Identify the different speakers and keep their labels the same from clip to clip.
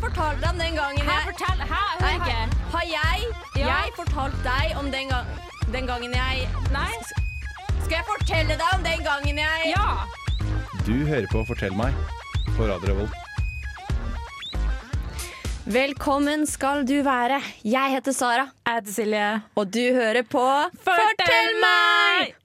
Speaker 1: fortalte deg om den gangen
Speaker 2: Hæ,
Speaker 1: jeg
Speaker 2: fortell! Hæ,
Speaker 1: Nei,
Speaker 2: jeg hører ikke.
Speaker 1: har- Har jeg,
Speaker 2: Ja.
Speaker 1: jeg fortalt deg om den, gang, den gangen jeg
Speaker 2: Nei?
Speaker 1: Skal jeg fortelle deg om den gangen jeg
Speaker 2: Ja!
Speaker 3: Du hører på Fortell meg på Radio Revolt.
Speaker 1: Velkommen skal du være. Jeg heter Sara,
Speaker 2: Jeg heter Silje.
Speaker 1: og du hører på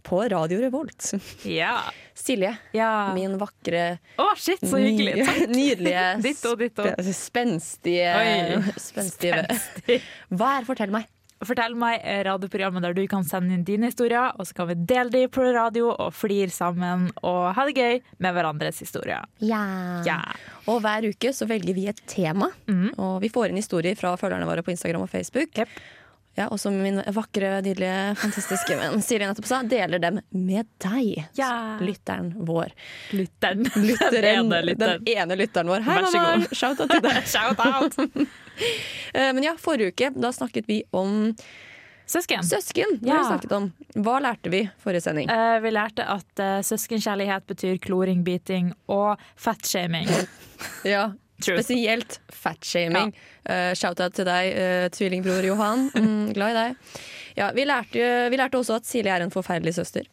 Speaker 1: På Radio Revolt.
Speaker 2: Ja.
Speaker 1: Silje,
Speaker 2: ja.
Speaker 1: min vakre
Speaker 2: Å, shit, så hyggelig.
Speaker 1: ny-
Speaker 2: Takk.
Speaker 1: Nydelige,
Speaker 2: Ditto, ditto.
Speaker 1: spe- spenstige,
Speaker 2: Oi.
Speaker 1: spenstige
Speaker 2: Spenstig.
Speaker 1: Hva er Fortell meg?
Speaker 2: Fortell meg eh, radioprogrammet der du kan sende inn dine historier, og så kan vi dele de på radio og flire sammen og ha det gøy med hverandres historier. Ja. Mm.
Speaker 1: Og hver uke så velger vi et tema. Og vi får inn historier fra følgerne våre på Instagram og Facebook.
Speaker 2: Jep.
Speaker 1: Ja, og som min vakre, nydelige, fantastiske venn Silje nettopp sa, deler dem med deg.
Speaker 2: Ja.
Speaker 1: Lytteren vår.
Speaker 2: Lytteren.
Speaker 1: Lytteren,
Speaker 2: Den ene lytteren.
Speaker 1: Den ene lytteren vår. Hei,
Speaker 2: Vær så
Speaker 1: mamma!
Speaker 2: god.
Speaker 1: Shout out til deg.
Speaker 2: Shout out!
Speaker 1: Eh, Men ja, forrige uke da snakket vi om
Speaker 2: Søsken.
Speaker 1: søsken. Det
Speaker 2: Ja.
Speaker 1: har vi snakket om. Hva lærte vi forrige sending?
Speaker 2: Eh, vi lærte at eh, søskenkjærlighet betyr kloring, biting og fettshaming.
Speaker 1: Ja,
Speaker 2: Truth.
Speaker 1: Spesielt fatshaming. Eh, Shout-out til deg, eh, tvillingbror Johan. Mm, glad i deg. Ja, vi, lærte, vi lærte også at Silje er en forferdelig søster.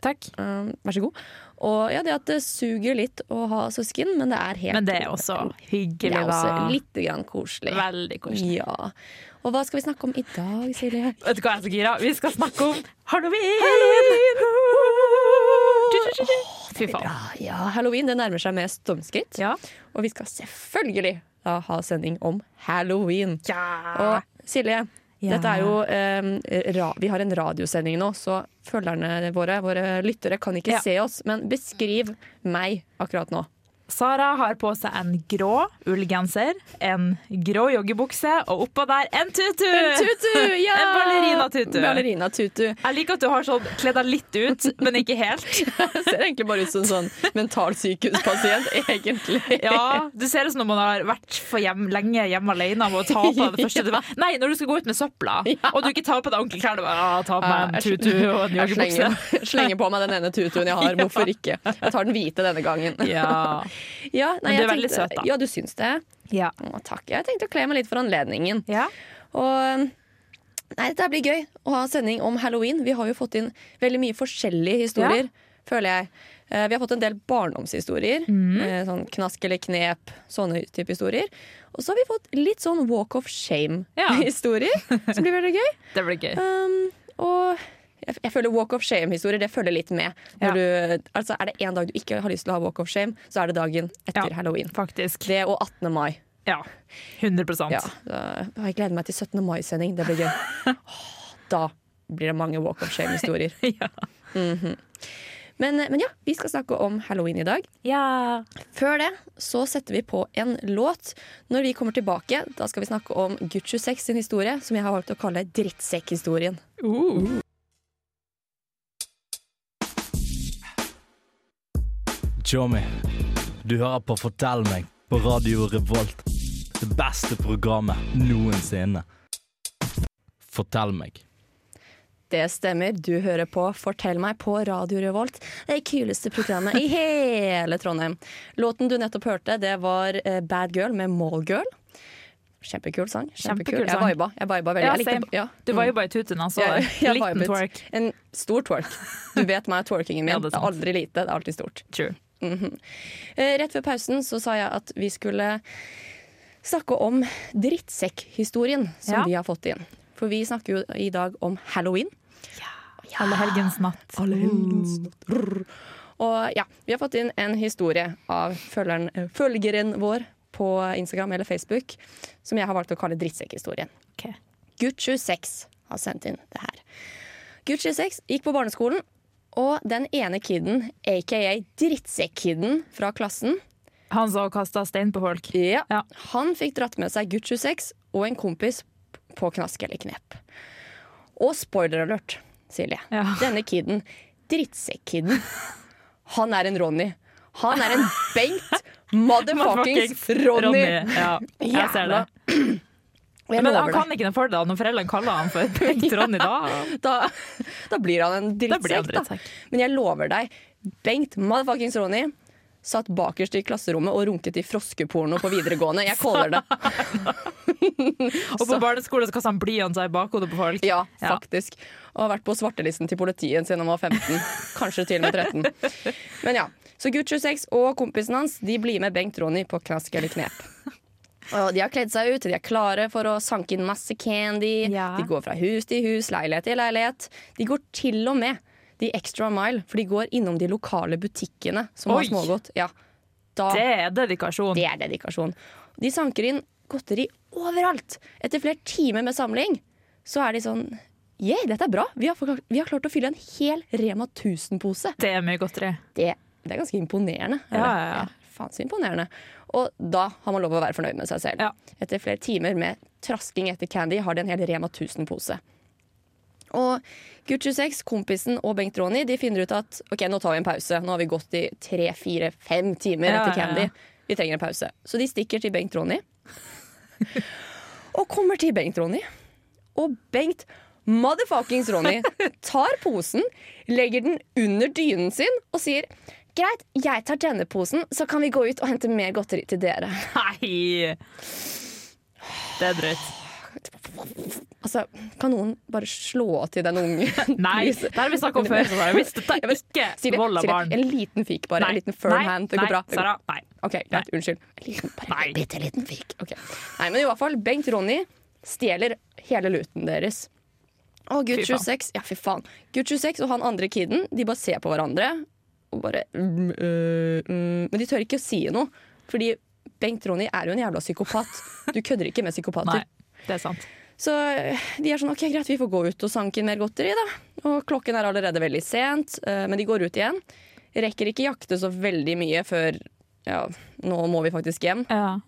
Speaker 2: Takk.
Speaker 1: Um, vær så god. Og ja, det at det suger litt å ha søsken, men det er helt
Speaker 2: Men det er også
Speaker 1: det
Speaker 2: hyggelig,
Speaker 1: er
Speaker 2: da.
Speaker 1: også litt grann koselig.
Speaker 2: Veldig koselig.
Speaker 1: Ja. Og hva skal vi snakke om i dag, Silje?
Speaker 2: Vet du hva jeg er så gira? Vi skal snakke om halloween! Fy faen.
Speaker 1: Ja, ja, halloween det nærmer seg med stormskritt.
Speaker 2: Ja.
Speaker 1: Og vi skal selvfølgelig da ha sending om halloween.
Speaker 2: ja.
Speaker 1: Og Silje,
Speaker 2: Ja.
Speaker 1: dette er jo eh, ra Vi har en radiosending nå, så følgerne våre, våre lyttere, kan ikke
Speaker 2: Ja.
Speaker 1: se oss. Men beskriv meg akkurat nå.
Speaker 2: Sara har på seg en grå ullgenser, en grå joggebukse og oppå der en tutu!
Speaker 1: Tutu! Ja!
Speaker 2: En ballerina-tutu.
Speaker 1: Ballerina tutu.
Speaker 2: Jeg liker at du har sånn kledd deg litt ut, men ikke helt.
Speaker 1: Ser egentlig bare ut som en sånn mentalsykehuspasient, egentlig.
Speaker 2: Ja, Du ser ut som når man har vært for hjem, lenge hjemme alene og ta på deg det første du Nei, når du skal gå ut med søpla, og du ikke tar på deg ordentlige klær. Du bare, ah, ta på meg en
Speaker 1: Jeg
Speaker 2: tutu og en
Speaker 1: jeg
Speaker 2: joggebukse.
Speaker 1: slenger, slenger på meg den ene tutuen jeg har, hvorfor ikke? Jeg tar den hvite denne gangen.
Speaker 2: Ja.
Speaker 1: Ja, nei,
Speaker 2: Men du er
Speaker 1: jeg
Speaker 2: veldig
Speaker 1: tenkte-
Speaker 2: søt, da.
Speaker 1: Ja, du syns det?
Speaker 2: Ja.
Speaker 1: Å, takk. Jeg tenkte å kle meg litt for anledningen.
Speaker 2: ja.
Speaker 1: Og um, Nei, dette blir gøy å ha en sending om halloween. Vi har jo fått inn veldig mye forskjellige historier, føler jeg. Eh, Vi har fått en del barndomshistorier.
Speaker 2: Mm.
Speaker 1: eh, Sånn knask eller knep, sånne type historier. Og så har vi fått litt sånn walk of
Speaker 2: Ja.
Speaker 1: shame-historier, som blir veldig gøy.
Speaker 2: Det blir gøy.
Speaker 1: Um, og jeg, jeg føler walk of shame-historier, det følger litt med. Når du, altså, er det én dag du ikke har lyst til å ha walk of shame, så er det dagen etter
Speaker 2: Ja.
Speaker 1: halloween.
Speaker 2: Faktisk.
Speaker 1: Det og 18. mai.
Speaker 2: Ja. 100
Speaker 1: Ja, da, å, jeg gleder meg til 17. mai-sending. Det blir gøy. Åh, Da blir det mange walk of shame-historier.
Speaker 2: Ja.
Speaker 1: Men, eh, men ja, vi skal snakke om halloween i dag.
Speaker 2: Ja.
Speaker 1: Før det så setter vi på en låt. Når vi kommer tilbake, da skal vi snakke om Gucci 6 sin historie, som jeg har valgt å kalle drittsekkhistorien.
Speaker 2: Uh.
Speaker 4: Tjommi, du hører på Fortell meg på Radio Revolt. Det beste programmet noensinne. Fortell meg.
Speaker 1: Det stemmer. Du hører på Fortell meg på Radio Revolt. Det kuleste programmet i hele Trondheim. Låten du nettopp hørte, det var eh, Bad Girl med Mallgirl. Kjempekul sang. Kjempekul.
Speaker 2: Kjempekul sang.
Speaker 1: Jeg viba. Jeg viba veldig.
Speaker 2: Ja,
Speaker 1: jeg
Speaker 2: same.
Speaker 1: likte, ja. Mm.
Speaker 2: Du var jo bare i tuten, altså.
Speaker 1: Jeg- jeg
Speaker 2: Liten
Speaker 1: vibet.
Speaker 2: twerk.
Speaker 1: En stor twerk. Du vet meg og twerkingen min.
Speaker 2: Ja, det er
Speaker 1: det, er
Speaker 2: sant.
Speaker 1: aldri lite, det er alltid stort.
Speaker 2: True.
Speaker 1: Eh, Rett før pausen så sa jeg at vi skulle snakke om drittsekkhistorien som
Speaker 2: Ja.
Speaker 1: vi har fått inn. For vi snakker jo i dag om halloween.
Speaker 2: Allehelgens natt. Mm.
Speaker 1: Og ja, vi har fått inn en historie av følgeren, eh, følgeren vår på Instagram eller Facebook som jeg har valgt å kalle drittsekkhistorien.
Speaker 2: Ok.
Speaker 1: Gucci 6 har sendt inn det her. Gucci 6 gikk på barneskolen, og den ene kiden, aka drittsekk-kiden fra klassen,
Speaker 2: Han som kasta stein på folk.
Speaker 1: ja,
Speaker 2: Ja.
Speaker 1: han fikk dratt med seg Gucci 6 og en kompis på knask eller knep. Og spoiler alert, Silje.
Speaker 2: Ja.
Speaker 1: Denne kiden, drittsekk-kiden, han er en Ronny. Han er en Bengt motherfuckings Ronny.
Speaker 2: Ja, jeg ser det.
Speaker 1: Jævla- Og jeg
Speaker 2: Men
Speaker 1: lover
Speaker 2: han
Speaker 1: deg.
Speaker 2: kan ikke noe for det da, når foreldrene kaller han for Bengt Ronny da.
Speaker 1: da, da blir han en
Speaker 2: Da blir
Speaker 1: drittsekk.
Speaker 2: han
Speaker 1: Da
Speaker 2: drittsekk.
Speaker 1: Men jeg lover deg, Bengt motherfuckings Ronny, satt bakerst i klasserommet og runket i froskeporno på videregående. Jeg caller det.
Speaker 2: Og på barneskole så kaster han blyant seg i bakhodet på folk.
Speaker 1: Ja, faktisk. Og har vært på svartelisten til politiet siden han var 15. Kanskje til og med 13. Men ja. Så gutt 26 og kompisen hans de blir med Bengt Ronny på knask eller knep. Og de har kledd seg ut, de er klare for å sanke inn masse candy.
Speaker 2: Ja.
Speaker 1: De går fra hus til hus, leilighet til leilighet. De går til og med de extra mile, for de går innom de lokale butikkene som
Speaker 2: Oi.
Speaker 1: har smågodt. Ja, da
Speaker 2: Det er dedikasjon.
Speaker 1: det er dedikasjon. De sanker inn godteri overalt. Etter flere timer med samling, så er de sånn Yeah, dette er bra. Vi har, forklart- vi har klart å fylle en hel Rema 1000-pose.
Speaker 2: Det er mye godteri.
Speaker 1: Det, det er ganske imponerende. er det?
Speaker 2: Ja, ja, ja.
Speaker 1: faen så imponerende. Og da har man lov å være fornøyd med seg selv.
Speaker 2: Ja.
Speaker 1: Etter flere timer med trasking etter candy har de en hel Rema 1000-pose. Og gutt 26, kompisen og Bengt Ronny de finner ut at ok, nå tar vi en pause. Nå har vi gått i tre, fire, fem timer
Speaker 2: Ja,
Speaker 1: etter
Speaker 2: ja,
Speaker 1: candy.
Speaker 2: ja.
Speaker 1: Vi trenger en pause. Så de stikker til Bengt Ronny. og kommer til Bengt Ronny. Og Bengt motherfuckings Ronny tar posen, legger den under dynen sin og sier Greit, jeg tar denne posen, så kan vi gå ut og hente mer godteri til dere.
Speaker 2: Nei! Det er drøyt.
Speaker 1: Altså, Kan noen bare slå til den ungen?
Speaker 2: Nei,
Speaker 1: please?
Speaker 2: det har vi snakket om før. Sara. Hvis
Speaker 1: Jeg
Speaker 2: dette
Speaker 1: bare-
Speaker 2: ikke
Speaker 1: Silje,
Speaker 2: vold av
Speaker 1: Silje,
Speaker 2: barn
Speaker 1: En liten fik, bare. En liten firm hand. Det går bra. Det går
Speaker 2: Sara, nei.
Speaker 1: Ok, greit, unnskyld. En liten, bare
Speaker 2: Nei.
Speaker 1: en bitte liten fik. Ok. Nei, men i hvert fall, Bengt Ronny stjeler hele luten deres. Og gutt
Speaker 2: Fy faen.
Speaker 1: 26 ja, fy faen. Gutt 26 og han andre kiden de bare ser på hverandre. Og bare, mm, øh, mm, men de tør ikke å si noe. Fordi Bengt Ronny er jo en jævla psykopat. Du kødder ikke med psykopater.
Speaker 2: nei. Det er sant.
Speaker 1: Så øh, de er sånn OK, greit, vi får gå ut og sanke inn mer godteri, da. Og klokken er allerede veldig sent, øh, men de går ut igjen. Rekker ikke jakte så veldig mye før ja, nå må vi faktisk hjem.
Speaker 2: Ja.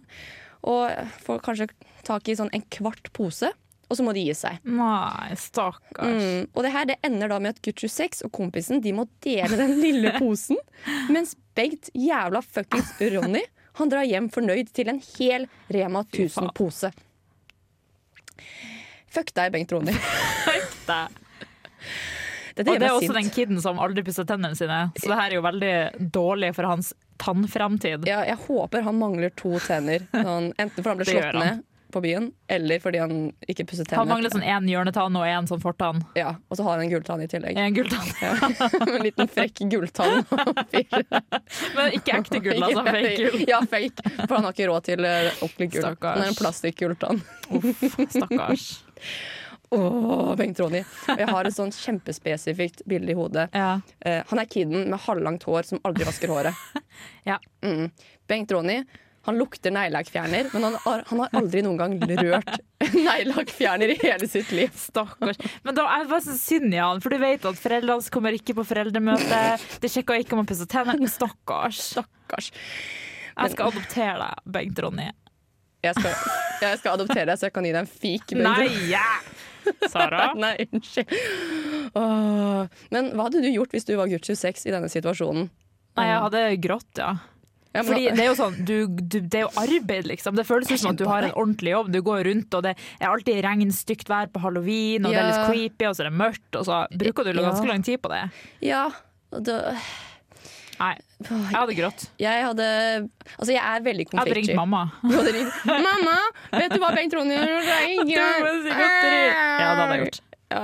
Speaker 1: Og får kanskje tak i sånn en kvart pose, og så må de gi seg.
Speaker 2: Nei, stakkars.
Speaker 1: Mm. Og det her det ender da med at gutt 26 og kompisen De må dele den lille posen, mens Bengt jævla fuckings Ronny Han drar hjem fornøyd til en hel Rema
Speaker 2: faen.
Speaker 1: 1000-pose. Fuck deg, Bengt Ronny.
Speaker 2: Det.
Speaker 1: Dette gjør
Speaker 2: Og det er
Speaker 1: meg
Speaker 2: også
Speaker 1: sint.
Speaker 2: den kiden som aldri pusser tennene sine, så det her er jo veldig dårlig for hans tannfremtid.
Speaker 1: Ja, jeg håper han mangler to tenner. Sånn, enten fordi han ble
Speaker 2: Det gjør
Speaker 1: slått
Speaker 2: han.
Speaker 1: ned på byen, eller fordi han ikke pusset
Speaker 2: Han
Speaker 1: tennene.
Speaker 2: mangler sånn én hjørnetann og én sånn fortann.
Speaker 1: Ja, og så har han en gulltann i tillegg.
Speaker 2: En gulltann.
Speaker 1: en liten frekk gulltann.
Speaker 2: Men ikke ekte gull, altså. Fake gull.
Speaker 1: Ja, fake. For han har ikke råd til eh, ordentlig gull.
Speaker 2: Stakkars.
Speaker 1: Han er en plastikkgulltann.
Speaker 2: Stakkars.
Speaker 1: Åh, Bengt Ronny. Og jeg har et sånn kjempespesifikt bilde i hodet.
Speaker 2: Ja.
Speaker 1: Eh, han er kiden med halvlangt hår som aldri vasker håret.
Speaker 2: Ja.
Speaker 1: Mm. Bengt Ronny han lukter neglelakkfjerner, men han har, han har aldri noen gang rørt neglelakkfjerner i hele sitt liv.
Speaker 2: Stakkars. Men da er det bare så synd i han, for du vet at foreldrene hans kommer ikke på foreldremøte. De sjekker ikke om han pusser tennene. Stakkars.
Speaker 1: Stakkars.
Speaker 2: Jeg skal adoptere deg, Bengt Ronny.
Speaker 1: Jeg skal, jeg skal adoptere deg, så jeg kan gi deg en fik. Bengt
Speaker 2: Nei!
Speaker 1: Ronny.
Speaker 2: ja. Sara?
Speaker 1: Nei, unnskyld. Åh. Men hva hadde du gjort hvis du var gutt 26 i denne situasjonen?
Speaker 2: Nei, jeg hadde grått, ja.
Speaker 1: Ja, men
Speaker 2: Fordi
Speaker 1: da-
Speaker 2: det er jo sånn, du, du, det er jo arbeid, liksom. Det føles ut som at du har en ordentlig jobb. Du går rundt, og det er alltid regn, stygt vær på halloween, og det er
Speaker 1: Ja.
Speaker 2: litt creepy, og så er det mørkt, og så bruker du
Speaker 1: Ja.
Speaker 2: ganske lang tid på det.
Speaker 1: Ja, og da,
Speaker 2: Nei, jeg hadde grått.
Speaker 1: jeg hadde Altså, jeg er veldig
Speaker 2: Jeg hadde ringt
Speaker 1: konfliktsky.
Speaker 2: mamma.
Speaker 1: Du hadde ringt Mamma, vet du hva Bengt Ronny gjør? når det er
Speaker 2: Du må
Speaker 1: ingen?»
Speaker 2: si godteri. Ja, det hadde jeg gjort.
Speaker 1: Ja,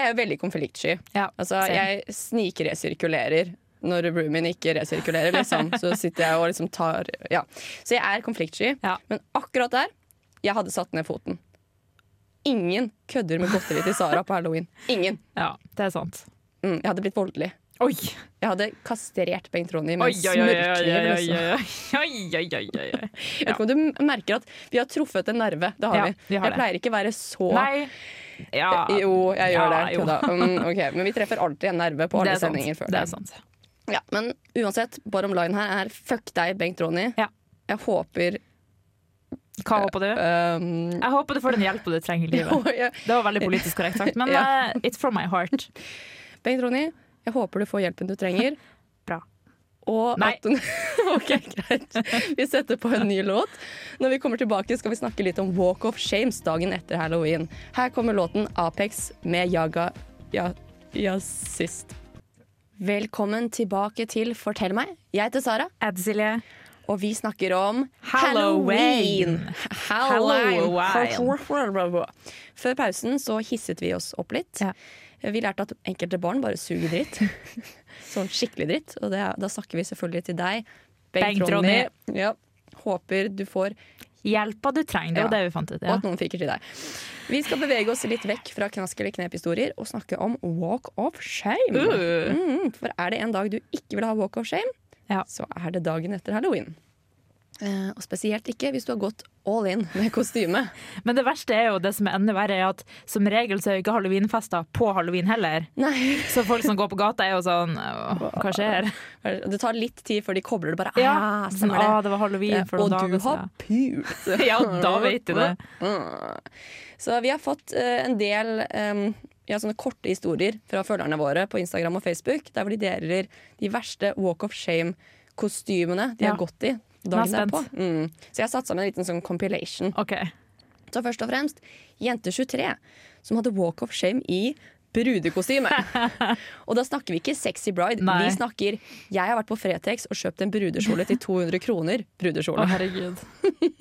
Speaker 1: jeg er veldig konfliktsky.
Speaker 2: Ja,
Speaker 1: Altså,
Speaker 2: same.
Speaker 1: jeg snikresirkulerer når roomien min ikke resirkulerer, liksom. Så sitter jeg og liksom tar Ja. Så jeg er konfliktsky.
Speaker 2: Ja.
Speaker 1: Men akkurat der, jeg hadde satt ned foten. Ingen kødder med godteri til Sara på halloween. Ingen.
Speaker 2: Ja, det er sant.
Speaker 1: Mm, jeg hadde blitt voldelig.
Speaker 2: Oi!
Speaker 1: Jeg hadde kastrert Bengt Ronny med
Speaker 2: Oi,
Speaker 1: en
Speaker 2: oi, oi, oi, oi,
Speaker 1: smørkniv.
Speaker 2: oi,
Speaker 1: Liksom.
Speaker 2: oi, oi, oi, oi, oi.
Speaker 1: Jeg vet ikke om du m- merker at vi har truffet en nerve. Det har
Speaker 2: Ja,
Speaker 1: vi.
Speaker 2: vi har
Speaker 1: jeg
Speaker 2: det.
Speaker 1: pleier ikke å være så
Speaker 2: Nei. Ja,
Speaker 1: Jo, jeg gjør
Speaker 2: Ja,
Speaker 1: det.
Speaker 2: jo.
Speaker 1: kødda. Mm, ok, Men vi treffer alltid en nerve på
Speaker 2: det
Speaker 1: alle
Speaker 2: er sant.
Speaker 1: sendinger før.
Speaker 2: Det er sant.
Speaker 1: Ja, men uansett, bottom line her er fuck deg, Bengt Ronny.
Speaker 2: Ja.
Speaker 1: Jeg håper
Speaker 2: Hva håper du?
Speaker 1: øhm,
Speaker 2: Jeg håper du får den hjelpen du trenger i livet.
Speaker 1: jeg-
Speaker 2: Det var veldig politisk korrekt sagt, men
Speaker 1: Ja.
Speaker 2: eh, it's from my heart.
Speaker 1: Bengt Ronny, jeg håper du får hjelpen du trenger.
Speaker 2: Bra.
Speaker 1: Og
Speaker 2: Nei.
Speaker 1: at OK, greit. Vi setter på en ny låt. Når vi kommer tilbake, skal vi snakke litt om Walk of Shames dagen etter halloween. Her kommer låten Apex med Jaga Ja, ja sist. Velkommen tilbake til Fortell meg. Jeg heter Sara,
Speaker 2: Ed Silje.
Speaker 1: og vi snakker om
Speaker 2: Halloween.
Speaker 1: Halloween. Før pausen så hisset vi oss opp litt.
Speaker 2: Ja.
Speaker 1: Vi lærte at enkelte barn bare suger dritt. Sånn skikkelig dritt. Og det, er- da snakker vi selvfølgelig til deg, Bengt,
Speaker 2: Bengt
Speaker 1: Ronny. Ja. Håper du får,
Speaker 2: Hjelpa du trenger, det var
Speaker 1: Ja.
Speaker 2: det vi fant ut.
Speaker 1: og
Speaker 2: Ja.
Speaker 1: at noen fiker til deg. Vi skal bevege oss litt vekk fra knask eller knep-historier og snakke om walk of shame.
Speaker 2: Uh.
Speaker 1: Mm, for er det en dag du ikke vil ha walk of shame,
Speaker 2: Ja.
Speaker 1: så er det dagen etter halloween. Eh, og spesielt ikke hvis du har gått all in med kostyme.
Speaker 2: Men det verste er jo det som er enda verre, er at som regel så er jo ikke halloweenfester på halloween heller.
Speaker 1: Nei.
Speaker 2: Så folk som går på gata er jo sånn «Åh, Hva skjer?
Speaker 1: Det tar litt tid før de kobler det bare.
Speaker 2: Ja,
Speaker 1: ah,
Speaker 2: sånn,
Speaker 1: stemmer det.
Speaker 2: ah, det var halloween for
Speaker 1: og
Speaker 2: noen
Speaker 1: du
Speaker 2: dager
Speaker 1: har
Speaker 2: siden.
Speaker 1: pult!
Speaker 2: Ja, da vet du det.
Speaker 1: Mm. Så vi har fått eh, en del em, ja, sånne korte historier fra følgerne våre på Instagram og Facebook, der hvor de deler de verste walk of shame-kostymene de
Speaker 2: Ja.
Speaker 1: har gått i
Speaker 2: Nå er
Speaker 1: dagen
Speaker 2: jeg
Speaker 1: derpå. Mm. Så jeg har satt sammen en liten sånn compilation.
Speaker 2: OK.
Speaker 1: Så først og fremst jente 23, som hadde walk of shame i brudekostyme. og da snakker vi ikke sexy bride.
Speaker 2: Nei.
Speaker 1: Vi snakker 'jeg har vært på Fretex og kjøpt en brudekjole til 200 kroner'. Brudekjole.
Speaker 2: Å, herregud.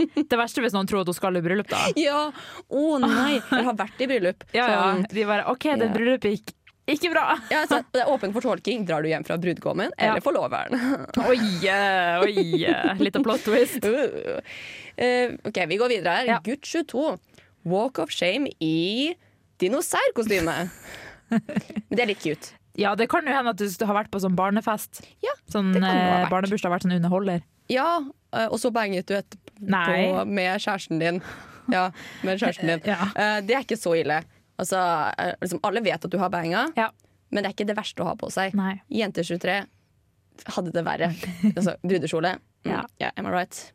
Speaker 2: Det verste er hvis noen tror at hun skal i bryllup, da.
Speaker 1: Ja! Å nei! Jeg har vært i bryllup.
Speaker 2: Ja, ja.
Speaker 1: Sånn,
Speaker 2: De bare OK, det
Speaker 1: Ja.
Speaker 2: bryllupet gikk ikke bra.
Speaker 1: ja, så det er åpent for tolking. Drar du hjem fra brudgommen
Speaker 2: Ja.
Speaker 1: eller forloveren?
Speaker 2: Oi, eh, oi. eh, Litt av plot twist.
Speaker 1: Uh. Eh, OK, vi går videre her.
Speaker 2: Ja.
Speaker 1: Gutt 22. Walk of shame i dinosaurkostyme. Men det er litt cute.
Speaker 2: Ja, det kan jo hende at du har vært på sånn barnefest.
Speaker 1: Ja,
Speaker 2: sånn
Speaker 1: det kan du ha
Speaker 2: eh,
Speaker 1: vært.
Speaker 2: barnebursdag har vært sånn underholder.
Speaker 1: Ja, eh, og så banget du etterpå
Speaker 2: Nei.
Speaker 1: med kjæresten din. Ja, med kjæresten din.
Speaker 2: Ja.
Speaker 1: Eh, Det er ikke så ille. Altså, eh, liksom, alle vet at du har banga,
Speaker 2: Ja.
Speaker 1: men det er ikke det verste å ha på seg.
Speaker 2: Nei.
Speaker 1: Jente 23 hadde det verre. Altså, brudekjole. Mm,
Speaker 2: Ja.
Speaker 1: ja, am I right?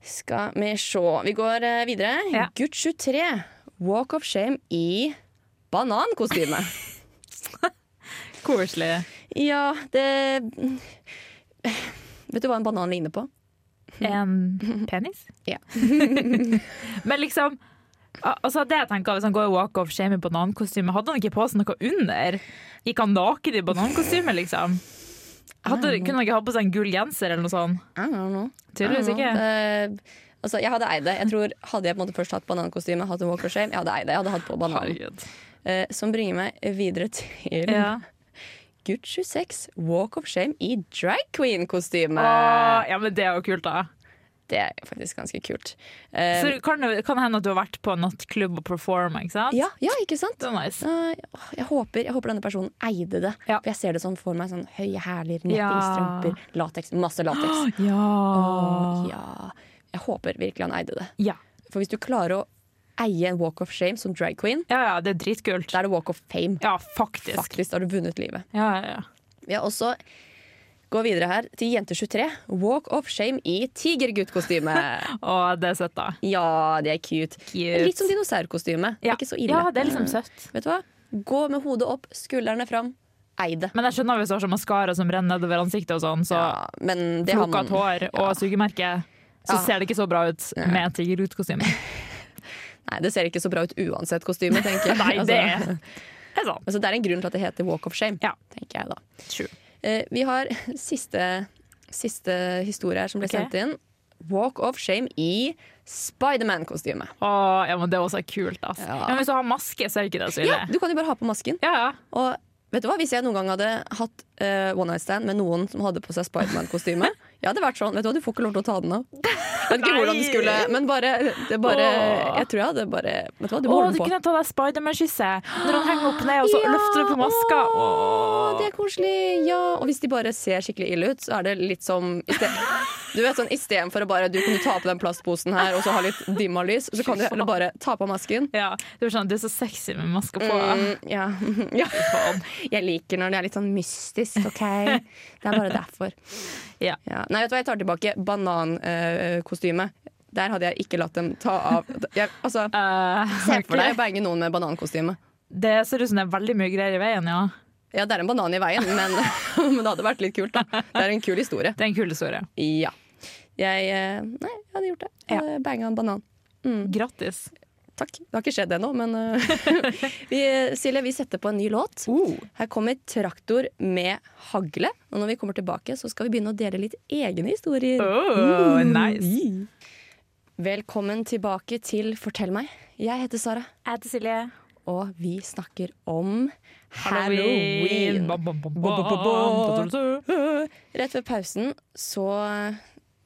Speaker 1: Skal vi se Vi går eh, videre.
Speaker 2: Ja.
Speaker 1: Gutt 23. Walk of shame i banankostyme.
Speaker 2: Koselig.
Speaker 1: ja, det Vet du hva en banan ligner på?
Speaker 2: En penis?
Speaker 1: Ja.
Speaker 2: Men liksom al- Altså det jeg tenker Hvis han går i walk of shame i banankostyme, hadde han ikke på seg noe under? Gikk han naken i banankostyme, liksom? Hadde, kunne han ikke ha på seg en gull genser eller noe sånt?
Speaker 1: I don't know.
Speaker 2: Tydeligvis
Speaker 1: Ja,
Speaker 2: ikke.
Speaker 1: det- altså, jeg hadde eid det. Jeg tror, hadde jeg på en måte først hatt banankostyme, hatt en walk of shame, jeg hadde eid det. Jeg hadde hatt på banan.
Speaker 2: Herregud.
Speaker 1: Eh, som bringer meg videre til
Speaker 2: Ja.
Speaker 1: Gutt 26, walk of shame i drag queen-kostyme.
Speaker 2: Åh, Ah, ja, men det er jo kult, da.
Speaker 1: Det er faktisk ganske kult. Eh,
Speaker 2: Så kan det kan det hende at du har vært på en nattklubb og performa, ikke sant?
Speaker 1: ja, ja, ikke sant?
Speaker 2: Det er nice.
Speaker 1: Eh, åh, jeg, håper, jeg håper denne personen eide det.
Speaker 2: Ja.
Speaker 1: For jeg ser det sånn for meg. Sånn, høye hæler,
Speaker 2: Ja.
Speaker 1: nettingstrømper, lateks. Masse lateks.
Speaker 2: Ja.
Speaker 1: Åh, ja. Jeg håper virkelig han eide det.
Speaker 2: ja.
Speaker 1: For hvis du klarer å eie en walk of shame som drag queen,
Speaker 2: Ja, ja, det er dritkult.
Speaker 1: da er det walk of fame.
Speaker 2: Ja, faktisk.
Speaker 1: Faktisk har du vunnet livet.
Speaker 2: Ja, ja, ja.
Speaker 1: Vi har også gå videre her til jente 23. Walk of shame i tigerguttkostyme.
Speaker 2: Å, det er søtt, da.
Speaker 1: Ja, det er cute.
Speaker 2: Cute.
Speaker 1: Litt som dinosaurkostyme. Det
Speaker 2: Ja.
Speaker 1: er Ikke så ille.
Speaker 2: Ja, det er liksom søtt.
Speaker 1: Vet du hva? Gå med hodet opp, skuldrene fram. Ei det.
Speaker 2: Men jeg skjønner hvis du har sånn maskara som renner nedover ansiktet og sånn, så
Speaker 1: Ja, men det har man
Speaker 2: flokkete hår og sugemerke, så
Speaker 1: Ja.
Speaker 2: ser det ikke så bra ut med tigerutkostyme.
Speaker 1: Nei, det ser ikke så bra ut uansett kostyme, tenker jeg.
Speaker 2: Nei,
Speaker 1: altså,
Speaker 2: det er er sant.
Speaker 1: altså, det er en grunn til at det heter walk of shame,
Speaker 2: Ja.
Speaker 1: tenker jeg da.
Speaker 2: True.
Speaker 1: Eh, vi har siste, siste historie her som ble
Speaker 2: Ok.
Speaker 1: sendt inn. Walk of shame i Spiderman-kostyme.
Speaker 2: Åh, ja, men det er også kult, ass. Ja.
Speaker 1: Ja.
Speaker 2: men hvis du har maske, så er det ikke det så ille.
Speaker 1: Ja, du kan jo bare ha på masken.
Speaker 2: Ja, ja.
Speaker 1: Og vet du hva, Hvis jeg noen gang hadde hatt eh, one night stand med noen som hadde på seg Spiderman-kostyme Jeg hadde vært sånn, vet du hva, du får ikke lov til å ta den av. Jeg vet ikke
Speaker 2: Nei.
Speaker 1: hvordan det skulle, men bare, det bare
Speaker 2: Åh.
Speaker 1: Jeg tror jeg hadde bare Vet du hva, du må
Speaker 2: Åh,
Speaker 1: holde
Speaker 2: du
Speaker 1: den på.
Speaker 2: kunne ta deg Spiderman-kysse når han henger opp ned, og så
Speaker 1: Ja,
Speaker 2: løfter du på maska.
Speaker 1: Å,
Speaker 2: Åh.
Speaker 1: det er koselig! Ja. Og hvis de bare ser skikkelig ille ut, så er det litt som i sted- Du vet sånn, Istedenfor å bare Du kunne ta på den plastposen her og så ha litt dimma lys, så kan du heller bare ta på masken.
Speaker 2: Ja, du er sånn, du er så sexy med maska på.
Speaker 1: Mm, ja. ja.
Speaker 2: Faen.
Speaker 1: Jeg liker når det er litt sånn mystisk, OK? Det er bare derfor.
Speaker 2: Ja.
Speaker 1: Nei, vet du hva, jeg tar tilbake banankostyme. Der hadde jeg ikke latt dem ta av jeg, Altså,
Speaker 2: Eh,
Speaker 1: se for deg å bange noen med banankostyme.
Speaker 2: det ser ut som det er veldig mye greier i veien, ja.
Speaker 1: Ja, det er en banan i veien, men, men det hadde vært litt kult, da. Det er en kul historie.
Speaker 2: Det er en kul historie.
Speaker 1: Ja. Jeg eh, Nei, jeg hadde gjort det. Jeg hadde banga en banan.
Speaker 2: Grattis.
Speaker 1: Takk. Det har ikke skjedd ennå, men eh, vi, Silje, vi setter på en ny låt. Her kommer 'Traktor med hagle'. Og når vi kommer tilbake, så skal vi begynne å dele litt egne historier.
Speaker 2: Oh, nice.
Speaker 1: Mm. Velkommen tilbake til Fortell meg. Jeg heter Sara,
Speaker 2: Jeg heter Silje.
Speaker 1: og vi snakker om
Speaker 2: Halloween.
Speaker 1: halloween. Rett ved pausen så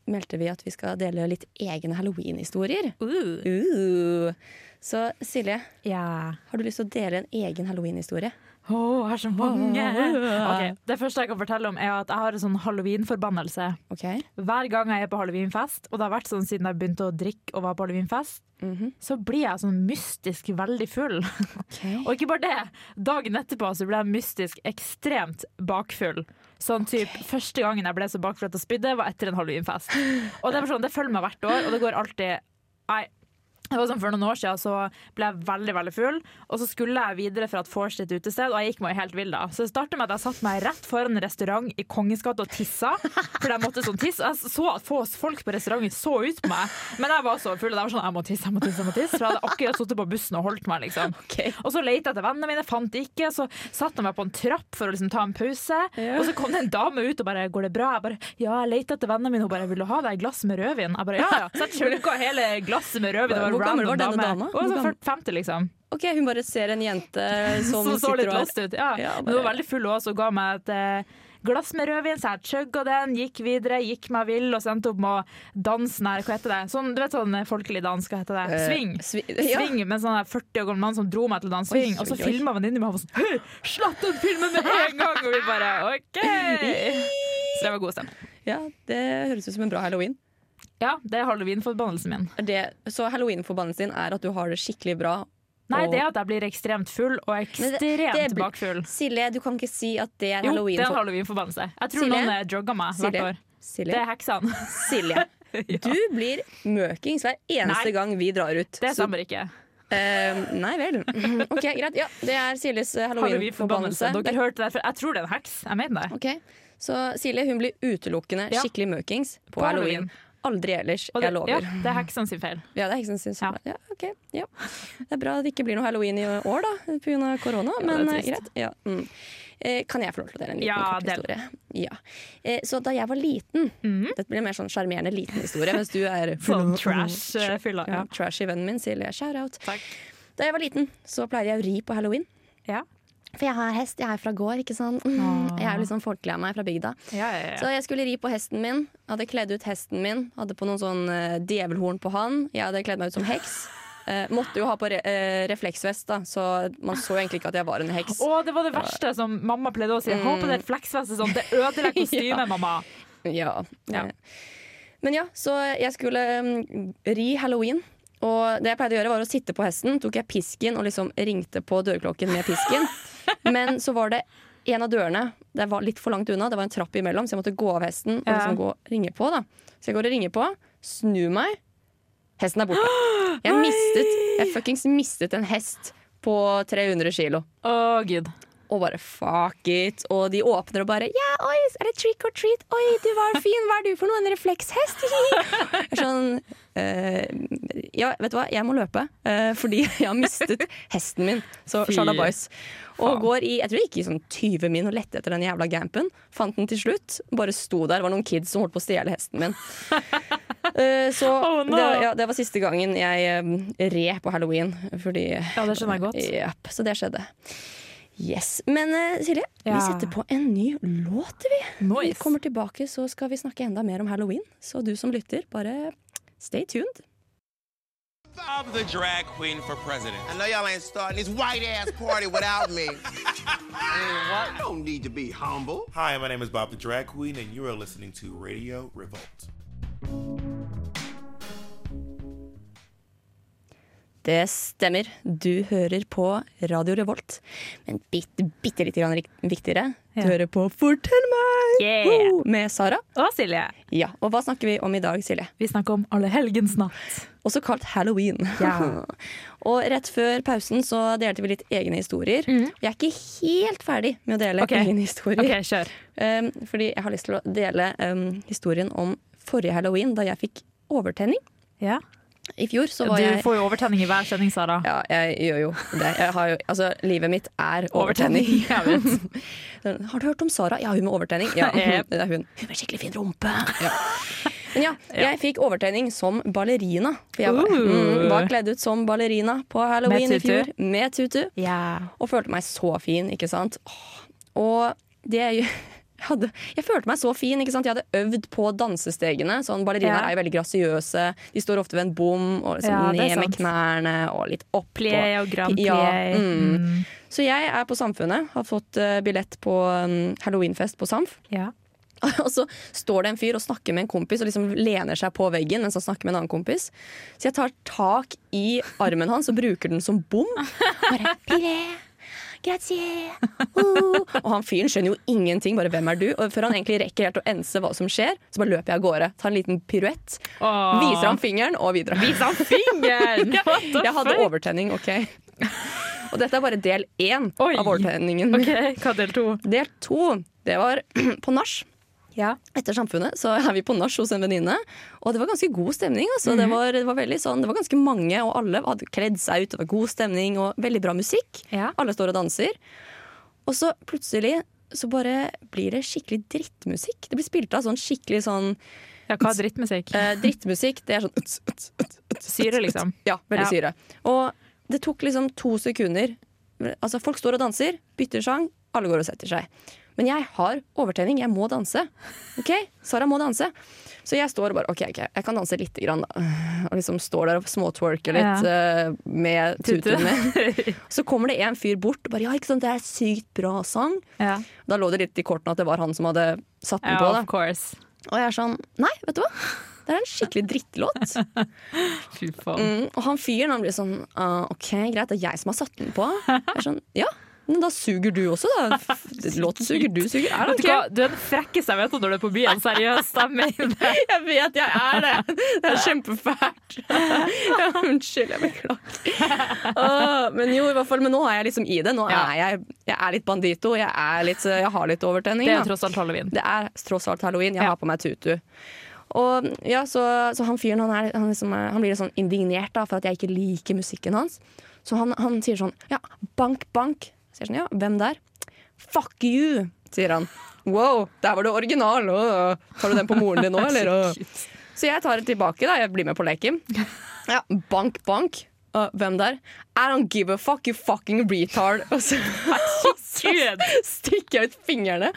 Speaker 1: meldte vi at vi skal dele litt egne halloween-historier.
Speaker 2: Uh.
Speaker 1: Uh. Så Silje,
Speaker 2: Ja.
Speaker 1: har du lyst til å dele en egen halloween-historie?
Speaker 2: Å, jeg har så mange! Ok, det første jeg kan fortelle om, er at jeg har en sånn halloween-forbannelse.
Speaker 1: Ok?
Speaker 2: Hver gang jeg er på halloweenfest, og det har vært sånn siden jeg begynte å drikke og var på halloweenfest,
Speaker 1: Mhm.
Speaker 2: så blir jeg sånn mystisk veldig full. Og ikke bare det, dagen etterpå så ble jeg mystisk ekstremt bakfull. Sånn typ, Første gangen jeg ble så bakfull at jeg spydde, var etter en halloweenfest. Og det, er bare sånn, det følger meg hvert år, og det går alltid Nei. Det var sånn For noen år siden så ble jeg veldig veldig full, og så skulle jeg videre fra et vors til et utested, og jeg gikk meg jo helt vill da. Så det startet med at jeg satte meg rett foran en restaurant i Kongens gate og tissa, for jeg måtte sånn tisse. Og Jeg så at få folk på restauranten så ut på meg, men jeg var så full, og jeg var sånn Jeg må tisse, jeg må tisse, jeg må tisse. For jeg hadde akkurat sittet på bussen og holdt meg, liksom. Og så lette jeg etter vennene mine, fant de ikke. Så satte jeg meg på en trapp for å liksom ta en pause. Og så kom det en dame ut og bare 'Går det bra?' Jeg bare 'Ja, jeg lette etter vennene mine.' Hun bare 'Vil du ha deg et glass med rødvin?' Jeg bare 'Ja, ja'. Så jeg chugga hele glasset med rødvin. Det var en
Speaker 1: Hvor gammel
Speaker 2: random
Speaker 1: var denne
Speaker 2: dame.
Speaker 1: dama?
Speaker 2: Hun
Speaker 1: Hvor
Speaker 2: var
Speaker 1: gammel?
Speaker 2: sånn 50, liksom.
Speaker 1: Ok, hun bare ser en jente som,
Speaker 2: Som så
Speaker 1: sitter
Speaker 2: litt
Speaker 1: og er-
Speaker 2: lost ut. Ja.
Speaker 1: Ja,
Speaker 2: Men hun var
Speaker 1: bare-
Speaker 2: veldig full også og ga meg et eh, glass med rødvin, så jeg chugga den, gikk videre, gikk meg vill og så endte opp med å danse nær Hva heter det? Sånn, du vet sånn eh, folkelig dans, hva heter det?
Speaker 1: Eh,
Speaker 2: Swing.
Speaker 1: svi- ja.
Speaker 2: Sving med en sånn der 40 år gammel mann som dro meg til å danse
Speaker 1: Oi,
Speaker 2: swing. Og så
Speaker 1: oi, oi.
Speaker 2: filma venninnen min og var sånn Hei, slapp den filmen med en gang! Og vi bare OK! Så det var god stemning.
Speaker 1: ja, det høres ut som en bra halloween.
Speaker 2: Ja, det er halloween-forbannelsen min.
Speaker 1: Er Det, så halloween-forbannelsen din er at du har det skikkelig bra.
Speaker 2: Nei,
Speaker 1: og-
Speaker 2: det er at jeg blir ekstremt full, og
Speaker 1: Men
Speaker 2: ekstremt
Speaker 1: det- det blir-
Speaker 2: bakfull.
Speaker 1: Silje, du kan ikke si at det er
Speaker 2: Jo, det er en
Speaker 1: halloween-for-
Speaker 2: halloween-forbannelse. Jeg tror
Speaker 1: Silje?
Speaker 2: noen eh, jogger meg hvert
Speaker 1: Silje.
Speaker 2: år. Det
Speaker 1: Silje.
Speaker 2: er heksene.
Speaker 1: Silje. Du blir møkings hver eneste
Speaker 2: Nei.
Speaker 1: gang vi drar ut.
Speaker 2: Det
Speaker 1: Så,
Speaker 2: stemmer ikke.
Speaker 1: eh, nei vel. Ok, greit. Ja, det er Siljes eh,
Speaker 2: Halloween-forbannelse.
Speaker 1: halloween-forbannelse.
Speaker 2: Dere hørte det, for jeg tror det er en heks. Jeg mener det.
Speaker 1: Ok, Så Silje hun blir utelukkende
Speaker 2: Ja.
Speaker 1: skikkelig møkings på,
Speaker 2: På
Speaker 1: halloween.
Speaker 2: halloween.
Speaker 1: Aldri ellers,
Speaker 2: Og det,
Speaker 1: jeg lover.
Speaker 2: ja,
Speaker 1: Ja.
Speaker 2: det er heksene sin feil.
Speaker 1: det er heksen sin
Speaker 2: Ja.
Speaker 1: som- ja. ok, ja. Det er bra det ikke blir noe halloween i år da, pga. korona,
Speaker 2: Ja, det er
Speaker 1: men eh,
Speaker 2: trist.
Speaker 1: greit. Ja, mm. eh, kan jeg få lov til å dele en liten
Speaker 2: Ja,
Speaker 1: kort
Speaker 2: del. Mhm.
Speaker 1: historie? Ja. Eh, så da jeg var liten Dette blir en mer sånn sjarmerende liten historie, mens du er
Speaker 2: Sånn trash-fylla.
Speaker 1: Ja,
Speaker 2: Ja.
Speaker 1: trashy vennen min, Silje. Shout-out.
Speaker 2: Takk.
Speaker 1: Da jeg var liten, så pleide jeg å ri på halloween.
Speaker 2: Ja.
Speaker 1: For jeg har hest, jeg er fra gård, ikke sant. Mm.
Speaker 2: Åh.
Speaker 1: Jeg er jo litt sånn folkelig av meg fra bygda.
Speaker 2: Ja, ja, ja.
Speaker 1: Så jeg skulle ri på hesten min. Hadde kledd ut hesten min. Hadde på noen sånn eh, djevelhorn på han. Jeg hadde kledd meg ut som heks. Eh, måtte jo ha på re eh, refleksvest, da, så man så egentlig ikke at jeg var en heks.
Speaker 2: Å, det var det verste som mamma pleide å si. Ha på deg et fleksvest. Sånn. Det ødelegger kostymet, mamma.
Speaker 1: Ja. Eh,
Speaker 2: Ja.
Speaker 1: Men ja, så jeg skulle mm, ri halloween. Og det jeg pleide å gjøre var å sitte på hesten, tok jeg pisken og liksom ringte på dørklokken med pisken. Men så var det en av dørene Det var litt for langt unna, det var en trapp imellom, så jeg måtte gå av hesten og
Speaker 2: Ja.
Speaker 1: liksom gå og ringe på. da Så jeg går og ringer på, snur meg, hesten er borte. Jeg mistet Jeg fuckings mistet en hest på 300 kilo.
Speaker 2: Å, gud.
Speaker 1: Og bare fuck it. Og de åpner og bare Ja, oi, er det trick or treat? Oi, du var fin. Hva er du for noe? En reflekshest? Jeg er sånn eh, Ja, vet du hva, jeg må løpe. eh, fordi jeg har mistet hesten min. Så
Speaker 2: Fy
Speaker 1: Sharda Boys. Og går i Jeg tror jeg gikk i sånn 20 min og lette etter den jævla gampen. Fant den til slutt. Bare sto der. Det var noen kids som holdt på å stjele hesten min. Eh, så
Speaker 2: Oh, no.
Speaker 1: det, ja, det var siste gangen jeg eh, red på halloween. Fordi
Speaker 2: Ja, det skjønner jeg godt.
Speaker 1: Japp, så det skjedde. Yes. Men eh, Silje, vi
Speaker 2: Ja.
Speaker 1: setter på en ny låt, vi. Når vi
Speaker 2: Nice.
Speaker 1: kommer tilbake, så skal vi snakke enda mer om halloween. Så du som lytter, bare stay tuned.
Speaker 5: I'm the drag queen for president. I know y'all ain't starting this white ass party without me.
Speaker 6: You don't need to be humble.
Speaker 7: Hi, my name is Bob the Drag Queen, and you are listening to Radio Revolt.
Speaker 1: Det stemmer, du hører på Radio Revolt. Men bitte, bitte litt grann rikt- viktigere, du
Speaker 2: Ja.
Speaker 1: hører på Fortell meg!
Speaker 2: Yeah.
Speaker 1: Woo! Med Sara.
Speaker 2: Å, Silje.
Speaker 1: Ja, Og hva snakker vi om i dag, Silje?
Speaker 2: Vi snakker om Allehelgens natt.
Speaker 1: Også kalt halloween.
Speaker 2: Ja.
Speaker 1: og rett før pausen så delte vi litt egne historier. Jeg er ikke helt ferdig med å dele
Speaker 2: Mhm. Ok.
Speaker 1: egne historier.
Speaker 2: OK, kjør.
Speaker 1: Um, fordi jeg har lyst ehm, til å dele um, historien om forrige halloween, da jeg fikk overtenning.
Speaker 2: Ja.
Speaker 1: I fjor så var
Speaker 2: Du
Speaker 1: jeg
Speaker 2: får jo overtenning i hver sending, Sara.
Speaker 1: Ja, jeg gjør jo det. Jeg har jo, altså, livet mitt er overtenning.
Speaker 2: Jeg vet.
Speaker 1: Har du hørt om Sara? Ja, hun med overtenning. Ja,
Speaker 2: Yep.
Speaker 1: det er hun. Hun med skikkelig fin rumpe. Ja. Men ja, jeg fikk overtenning som ballerina. For jeg var,
Speaker 2: Ooh.
Speaker 1: mm, var kledd ut som ballerina på halloween
Speaker 2: Med
Speaker 1: i fjor. Med tutu.
Speaker 2: Ja.
Speaker 1: Og følte meg så fin, ikke sant. Åh, Og det jeg hadde, jeg følte meg så fin. ikke sant? Jeg hadde øvd på dansestegene. sånn Ballerinaer
Speaker 2: Ja.
Speaker 1: er jo veldig grasiøse. De står ofte ved en bom, og liksom
Speaker 2: Ja, det er
Speaker 1: ned med
Speaker 2: sant.
Speaker 1: knærne og litt opp.
Speaker 2: Plie og grand plie.
Speaker 1: Ja, mm. Så jeg er på Samfunnet, har fått eh, billett på mm, halloweenfest på Samf.
Speaker 2: Ja.
Speaker 1: Og så står det en fyr og snakker med en kompis og liksom lener seg på veggen mens han snakker med en annen kompis. Så jeg tar tak i armen hans og bruker den som bom. Bare, «Pire, grazie, uh». Og han fyren skjønner jo ingenting, bare 'hvem er du?' Og før han egentlig rekker helt å ense hva som skjer, så bare løper jeg av gårde. Tar en liten piruett,
Speaker 2: Åh.
Speaker 1: viser ham fingeren og videre.
Speaker 2: Vis han fingeren! What the
Speaker 1: Jeg hadde
Speaker 2: fuck?
Speaker 1: overtenning, OK? Og dette er bare del én
Speaker 2: Oi.
Speaker 1: av overtenningen.
Speaker 2: OK, hva er del to?
Speaker 1: Del to, det var på nach. Etter Samfunnet så er vi på nach hos en venninne, og det var ganske god stemning. Altså. det, var, det, var veldig sånn, det var ganske mange, og alle hadde kledd seg ut. Det var god stemning og veldig bra musikk.
Speaker 2: Ja.
Speaker 1: Alle står og danser. Og så plutselig så bare blir det skikkelig drittmusikk. Det blir spilt av sånn skikkelig sånn
Speaker 2: Ja, hva er drittmusikk?
Speaker 1: eh, Drittmusikk, det er sånn uts, uts, uts, uts,
Speaker 2: Syre, liksom.
Speaker 1: ja, veldig
Speaker 2: Ja.
Speaker 1: syre. Og det tok liksom to sekunder. Altså, folk står og danser, bytter sang, alle går og setter seg. Men jeg har overtenning, jeg må danse. Ok, Sara må danse. Så jeg står og bare OK, ok, jeg kan danse lite grann, da. Og liksom står der og småtwerker litt
Speaker 2: Ja.
Speaker 1: eh, med
Speaker 2: Tutu.
Speaker 1: tutuen min. Så kommer det en fyr bort og bare Ja, ikke sant, det er sykt bra sang.
Speaker 2: Ja,
Speaker 1: Da lå det litt i kortene at det var han som hadde satt den
Speaker 2: ja
Speaker 1: på.
Speaker 2: of
Speaker 1: Da.
Speaker 2: course.
Speaker 1: Og jeg er sånn Nei, vet du hva. Det er en skikkelig drittlåt.
Speaker 2: Fy faen.
Speaker 1: Mm, og han fyren han blir sånn «Ah, OK, greit, det er jeg som har satt den på. Jeg er sånn, ja, men da suger du også, da. F- Låt suger, du suger. Er
Speaker 2: Vet
Speaker 1: det
Speaker 2: du hva, du er den frekkeste jeg vet om når du er på byen. Seriøst, jeg mener det.
Speaker 1: Jeg vet jeg er det. Det er kjempefælt. Ja, unnskyld, jeg beklager. Åh, men jo, i hvert fall, men nå er jeg liksom i det. Nå
Speaker 2: Ja.
Speaker 1: er jeg, jeg er litt bandito. Jeg, er litt, jeg har litt overtenning.
Speaker 2: Det er
Speaker 1: da.
Speaker 2: jo tross alt halloween.
Speaker 1: Det er tross alt halloween. Jeg
Speaker 2: Ja.
Speaker 1: har på meg tutu. Og ja, så, så han fyren han, er, han, liksom, er- han blir litt sånn indignert da, for at jeg ikke liker musikken hans. Så han, han sier sånn Ja, bank, bank. Så jeg er sånn, ja, hvem der? Fuck you, sier han. Wow, der var du original. Åh, tar du den på moren din nå, eller? Åh. Så jeg tar det tilbake, da. Jeg blir med på leken. Ja, bank, bank. Åh, hvem der? I don't give a fuck, you fucking retard. Og så, og så
Speaker 2: Gud.
Speaker 1: stikker jeg ut fingrene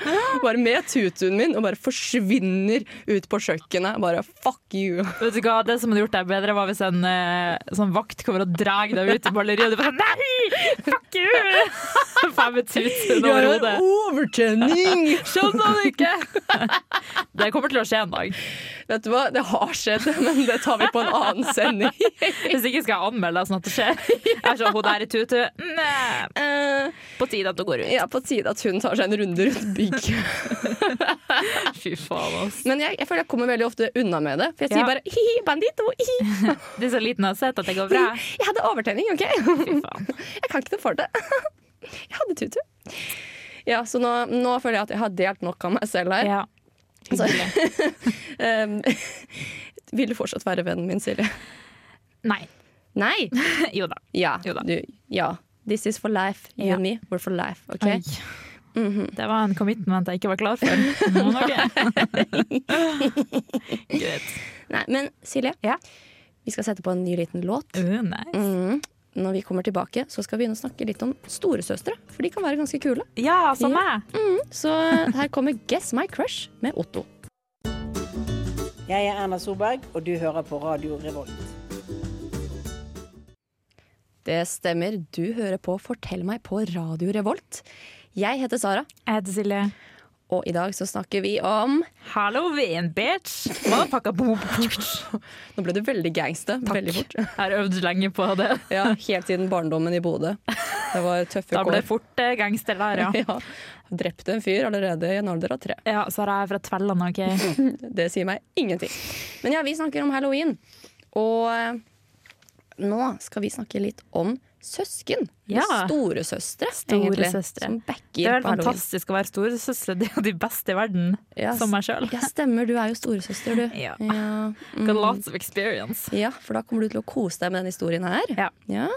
Speaker 1: bare med tutuen min og bare forsvinner ut på kjøkkenet. Bare fuck you.
Speaker 2: Vet du hva, Det som hadde gjort deg bedre, var hvis en eh, sånn vakt kommer og drar deg ut i balleriet, og du bare sånn Nei! Fuck you! Faen med tuten over hodet.
Speaker 1: overtenning!
Speaker 2: Skjønner du ikke? Det kommer til å skje en dag.
Speaker 1: Vet du hva, det har skjedd, men det tar vi på en annen sending.
Speaker 2: Hvis ikke skal jeg anmelde deg sånn at det skjer. Jeg er sånn, hun der i tutu Nei.
Speaker 1: Eh,
Speaker 2: På tide at hun går ut.
Speaker 1: ja, på tide at hun tar seg en runde rundt bygget.
Speaker 2: Fy faen, ass.
Speaker 1: Men jeg, jeg føler jeg kommer veldig ofte unna med det. For jeg
Speaker 2: Ja.
Speaker 1: sier bare hi-hi, bandito, hi-hi.
Speaker 2: Det er så liten jeg har sett at det går bra.
Speaker 1: Jeg hadde overtenning, OK?
Speaker 2: Fy faen.
Speaker 1: Jeg kan ikke noe for det. Jeg hadde tutu. Ja, så nå, nå føler jeg at jeg har delt nok av meg selv her.
Speaker 2: Ja. Hyggelig.
Speaker 1: Um, vil du fortsatt være vennen min, Silje?
Speaker 2: Nei.
Speaker 1: Nei!
Speaker 2: Jo da.
Speaker 1: Ja.
Speaker 2: Jo da.
Speaker 1: Du, ja. This is for life. You
Speaker 2: Ja.
Speaker 1: and me, we're for life. ok? Mhm.
Speaker 2: Oi. Det var en commitment jeg ikke var klar for. Men ok. Greit.
Speaker 1: Nei, men Silje,
Speaker 2: Ja.
Speaker 1: vi skal sette på en ny liten låt.
Speaker 2: Uh, nice.
Speaker 1: Mhm. Når vi kommer tilbake, så skal vi begynne å snakke litt om storesøstre. For de kan være ganske kule.
Speaker 2: Ja, som meg.
Speaker 1: Så her kommer Guess My Crush med Otto.
Speaker 8: Jeg er Erna Solberg, og du hører på Radio Revolt.
Speaker 1: Det stemmer. Du hører på Fortell meg på Radio Revolt. Jeg heter Sara,
Speaker 2: Jeg heter Silje.
Speaker 1: og i dag så snakker vi om
Speaker 2: Halloween, bitch! Motherfucker, boom.
Speaker 1: Nå ble du veldig gangster. Veldig fort.
Speaker 2: Jeg har øvd lenge på det.
Speaker 1: Ja, helt siden barndommen i Bodø. Det var tøffe
Speaker 2: Da
Speaker 1: kår.
Speaker 2: ble det fort eh, gangster der, ja.
Speaker 1: Ja. Drepte en fyr allerede i en alder av tre.
Speaker 2: Ja, Sara er fra Tvelland, OK?
Speaker 1: Det sier meg ingenting. Men ja, vi snakker om halloween. Og eh, nå skal vi snakke litt om søsken.
Speaker 2: Ja.
Speaker 1: Storesøstre,
Speaker 2: Store
Speaker 1: egentlig.
Speaker 2: søstre.
Speaker 1: Som
Speaker 2: Det er
Speaker 1: backer
Speaker 2: vel
Speaker 1: på halloween.
Speaker 2: fantastisk å være storesøster. Det er jo de beste i verden,
Speaker 1: Ja,
Speaker 2: som meg sjøl.
Speaker 1: Ja, stemmer. Du er jo storesøster, du.
Speaker 2: Ja.
Speaker 1: Ja.
Speaker 2: Got lots of experience.
Speaker 1: Ja, for da kommer du til å kose deg med den historien her.
Speaker 2: Ja.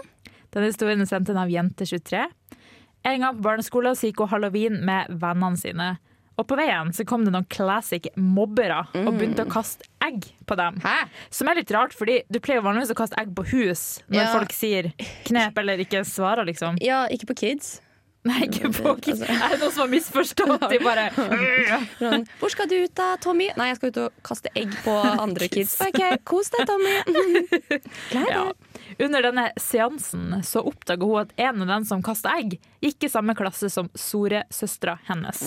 Speaker 2: Denne historien er sendt inn av Jente23. En gang på barneskolen så gikk hun halloween med vennene sine. Og på veien så kom det noen classic mobbere og begynte å kaste egg på dem.
Speaker 1: Mm. Hæ?
Speaker 2: Som er litt rart, fordi du pleier jo vanligvis å kaste egg på hus når
Speaker 1: Ja.
Speaker 2: folk sier knep eller ikke svarer, liksom.
Speaker 1: Ja, ikke på kids.
Speaker 2: Nei, ikke på kids.
Speaker 1: Altså.
Speaker 2: Er det noen som har misforstått? De bare
Speaker 1: Sånn, Hvor skal du ut da, Tommy? Nei, jeg skal ut og kaste egg på andre kids. Ok, kos deg, Tommy. Gleder.
Speaker 2: Ja. Under denne seansen så oppdaga hun at en av dem som kasta egg, gikk i samme klasse som storesøstera hennes.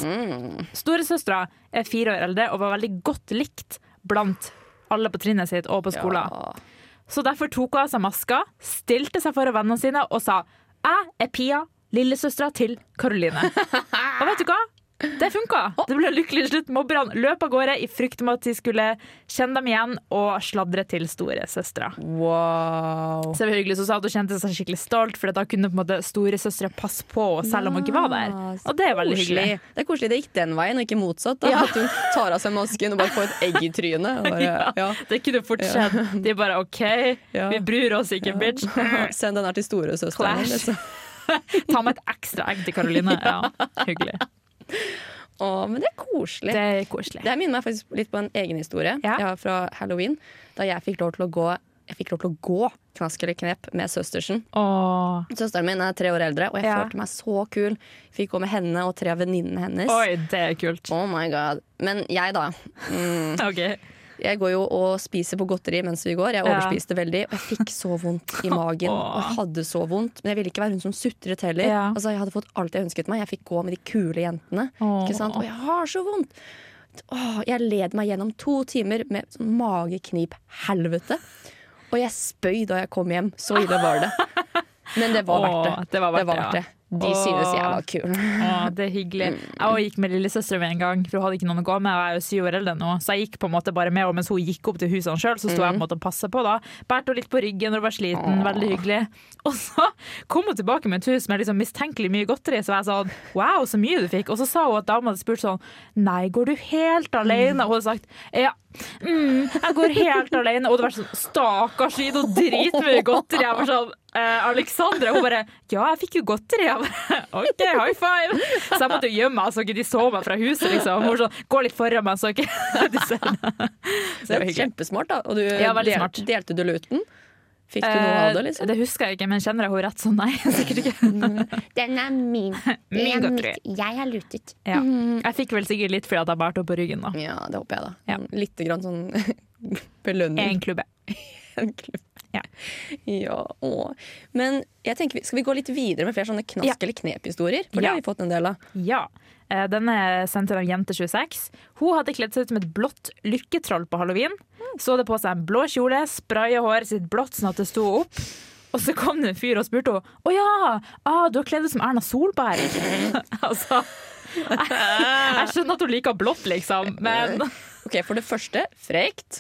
Speaker 2: Storesøstera er fire år eldre og var veldig godt likt blant alle på trinnet sitt og på skolen. Så derfor tok hun av seg maska, stilte seg foran vennene sine og sa Jeg er Pia, lillesøstera til Karoline. og vet du hva? Det funka! Det ble lykkelig slutt. Mobberne løp av gårde i frykt om at de skulle kjenne dem igjen og sladre til storesøstera.
Speaker 1: Wow.
Speaker 2: Så det var hyggelig, så hun sa at hun kjente seg skikkelig stolt, for da kunne på en måte storesøstre passe på henne selv om hun ikke var der. Og det er veldig hyggelig.
Speaker 1: Ah, Koselig. Det er koselig det gikk den veien, og ikke motsatt. Da.
Speaker 2: Ja.
Speaker 1: At hun tar av seg masken og bare får et egg i trynet. Og bare, ja.
Speaker 2: Det kunne fortsatt. De er bare OK,
Speaker 1: Ja.
Speaker 2: vi bryr oss ikke, bitch.
Speaker 1: Send den her til storesøsteren.
Speaker 2: Clash.
Speaker 1: Liksom.
Speaker 2: Ta med et ekstra egg til Karoline. Ja, hyggelig.
Speaker 1: Å, men det er koselig.
Speaker 2: Det er koselig.
Speaker 1: Det her minner meg faktisk litt på en egen historie
Speaker 2: Ja.
Speaker 1: jeg har fra halloween. Da jeg fikk lov til å gå Jeg fikk lov til å gå knask eller knep med søstersen.
Speaker 2: Åh.
Speaker 1: Søsteren min er tre år eldre, og jeg
Speaker 2: Ja.
Speaker 1: følte meg så kul. Fikk gå med henne og tre av venninnene hennes.
Speaker 2: Oi, det er kult.
Speaker 1: Oh my god. Men jeg, da. Mm.
Speaker 2: OK.
Speaker 1: Jeg går jo og spiser på godteri mens vi går. Jeg
Speaker 2: Ja.
Speaker 1: overspiste veldig. Og jeg fikk så vondt i magen. Og jeg hadde så vondt. Men jeg ville ikke være hun som sutret heller.
Speaker 2: Ja.
Speaker 1: Altså, jeg hadde fått alt jeg ønsket meg. Jeg fikk gå med de kule jentene.
Speaker 2: Åh.
Speaker 1: Ikke sant? Og jeg har så vondt! Åh, jeg led meg gjennom to timer med sånn mageknip-helvete. Og jeg spøy da jeg kom hjem. Så ille var det. Men det var verdt det.
Speaker 2: Åh, det var verdt det, ja.
Speaker 1: De
Speaker 2: Åh.
Speaker 1: synes jeg var kul.
Speaker 2: Åh, det er hyggelig. Jeg også gikk med lillesøstera mi en gang, for hun hadde ikke noen å gå med. og Jeg er jo syv år eldre nå, så jeg gikk på en måte bare med henne mens hun gikk opp til husene sjøl. Så sto jeg på en måte og passa på, da. Bærte henne litt på ryggen når hun var sliten. Veldig hyggelig. Og så kom hun tilbake med et hus med liksom mistenkelig mye godteri, så jeg sånn wow, så mye du fikk. Og så sa hun at dama hadde spurt sånn nei, går du helt alene? Og hun hadde sagt ja. Mm, jeg går helt alene. Og det var sånn stakkars Ida, dritmye godteri. Jeg var sånn eh, Alexandra, hun bare Ja, jeg fikk jo godteri. Jeg bare, OK, high five. Så jeg måtte jo gjemme meg så ikke de så meg fra huset, liksom. Hun var sånn Gå litt foran meg, så ikke de ser meg. Så det var hyggelig.
Speaker 1: Kjempesmart, da. Og du
Speaker 2: Ja, veldig
Speaker 1: del-
Speaker 2: smart.
Speaker 1: delte du luten? Fikk du noe av det,
Speaker 2: Eh,
Speaker 1: liksom?
Speaker 2: det husker jeg ikke, men kjenner jeg henne rett, så nei. Sikkert ikke.
Speaker 9: Den er min. Den
Speaker 2: Eh, Min
Speaker 9: er
Speaker 2: godteri.
Speaker 9: mitt. Jeg har lutet.
Speaker 2: Ja.
Speaker 1: Mm.
Speaker 2: Jeg fikk vel sikkert litt fordi at jeg bar henne på ryggen, da.
Speaker 1: Ja, det håper jeg, da.
Speaker 2: Ja.
Speaker 1: Litt grann sånn belønning.
Speaker 2: En klubbe.
Speaker 1: Egentlig.
Speaker 2: Ja.
Speaker 1: Ja, å. Men jeg tenker, vi- skal vi gå litt videre med flere sånne knask-
Speaker 2: Ja.
Speaker 1: eller knep-historier? For det
Speaker 2: Ja.
Speaker 1: har vi fått en del av.
Speaker 2: Ja. Eh, Den er sendt inn av Jente26. Hun hadde kledd seg ut som et blått lykketroll på halloween. Så hadde på seg en blå kjole, spraya håret sitt blått sånn at det sto opp. Og så kom det en fyr og spurte henne Å ja, ah, du har kledd deg som Erna Solberg. altså jeg, jeg skjønner at hun liker blått, liksom, men
Speaker 1: Ok, For det første, frekt.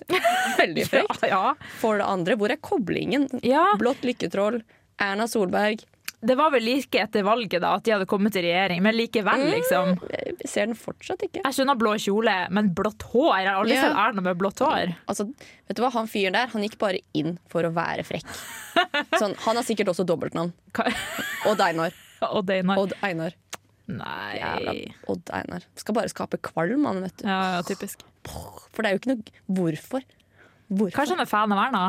Speaker 1: Veldig frekt.
Speaker 2: ja,
Speaker 1: For det andre, hvor er koblingen?
Speaker 2: ja.
Speaker 1: Blått lykketroll, Erna Solberg.
Speaker 2: Det var vel like etter valget da at de hadde kommet i regjering, men likevel, liksom.
Speaker 1: Jeg ser den fortsatt ikke.
Speaker 2: Jeg skjønner blå kjole, men blått hår? Jeg har aldri
Speaker 1: Ja.
Speaker 2: sett Erna med blått hår.
Speaker 1: Altså, vet du hva, Han fyren der han gikk bare inn for å være frekk. Sånn, han har sikkert også dobbeltnavn.
Speaker 2: Hva-
Speaker 1: Odd Einar.
Speaker 2: Og Deinar.
Speaker 1: Odd Einar.
Speaker 2: Nei
Speaker 1: Jævla Odd Einar. Skal bare skape kvalm, han, vet du.
Speaker 2: Ja, ja, typisk.
Speaker 1: For det er jo ikke noe Hvorfor? Hvorfor?
Speaker 2: Kanskje han er fan av Erna?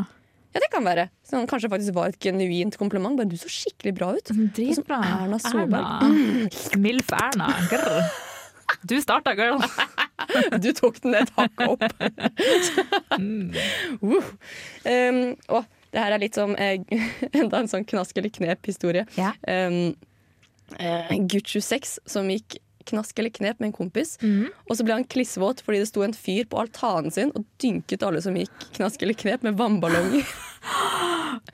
Speaker 1: Ja, det kan være. Så han kanskje faktisk var et genuint kompliment. Bare du så skikkelig bra ut.
Speaker 2: Sånn Dritbra.
Speaker 1: Erna Solberg.
Speaker 2: Milf Erna. Grr. Du starta, girl.
Speaker 1: Du tok den et hakk opp. uh. um, å, det her er litt som eh, enda en sånn knask eller knep-historie.
Speaker 2: Ja.
Speaker 1: Um, eh, Gutt 26 som gikk knask eller knep med en kompis.
Speaker 2: Mhm.
Speaker 1: Og så ble han klissvåt fordi det sto en fyr på altanen sin og dynket alle som gikk knask eller knep med vannballonger.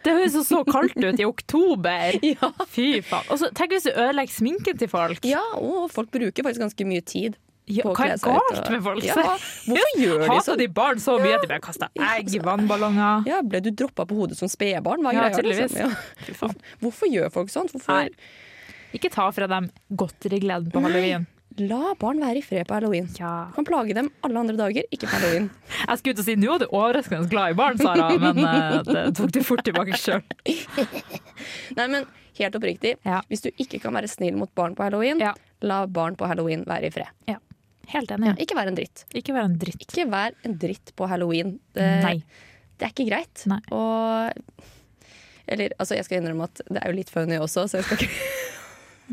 Speaker 2: Det høres jo så kaldt ut i oktober.
Speaker 1: ja.
Speaker 2: Fy faen. Og så tenk hvis du ødelegger sminken til folk.
Speaker 1: ja, og folk bruker faktisk ganske mye tid
Speaker 2: Ja,
Speaker 1: på å
Speaker 2: hva
Speaker 1: kle
Speaker 2: er
Speaker 1: seg ut
Speaker 2: galt
Speaker 1: og-
Speaker 2: med folk?
Speaker 1: Ja, hvorfor gjør de
Speaker 2: Hater
Speaker 1: sånn?
Speaker 2: de barn så mye at de bare kaster
Speaker 1: Ja,
Speaker 2: egg,
Speaker 1: altså.
Speaker 2: vannballonger?
Speaker 1: Ja, ble du droppa på hodet som spedbarn? Hva er
Speaker 2: Ja,
Speaker 1: greia, liksom?
Speaker 2: tydeligvis.
Speaker 1: Ja.
Speaker 2: Fy faen.
Speaker 1: Hvorfor gjør folk sånt? Hvorfor
Speaker 2: Nei. Ikke ta fra dem godterigleden på halloween.
Speaker 1: La barn være i fred på halloween.
Speaker 2: Ja.
Speaker 1: Du kan plage dem alle andre dager, ikke på halloween.
Speaker 2: Jeg skulle ut og si nå er du overraskende glad i barn, Sara, men eh, det tok du fort tilbake sjøl.
Speaker 1: Nei, men helt oppriktig,
Speaker 2: Ja.
Speaker 1: hvis du ikke kan være snill mot barn på halloween,
Speaker 2: Ja.
Speaker 1: la barn på halloween være i fred.
Speaker 2: Ja. Helt enig. Ja.
Speaker 1: Ikke vær en dritt.
Speaker 2: Ikke vær en dritt.
Speaker 1: Ikke vær en dritt på halloween. Eh, Det,
Speaker 2: Nei.
Speaker 1: det er ikke greit.
Speaker 2: Nei.
Speaker 1: Og eller, altså, jeg skal innrømme at det er jo litt funny også, så jeg skal ikke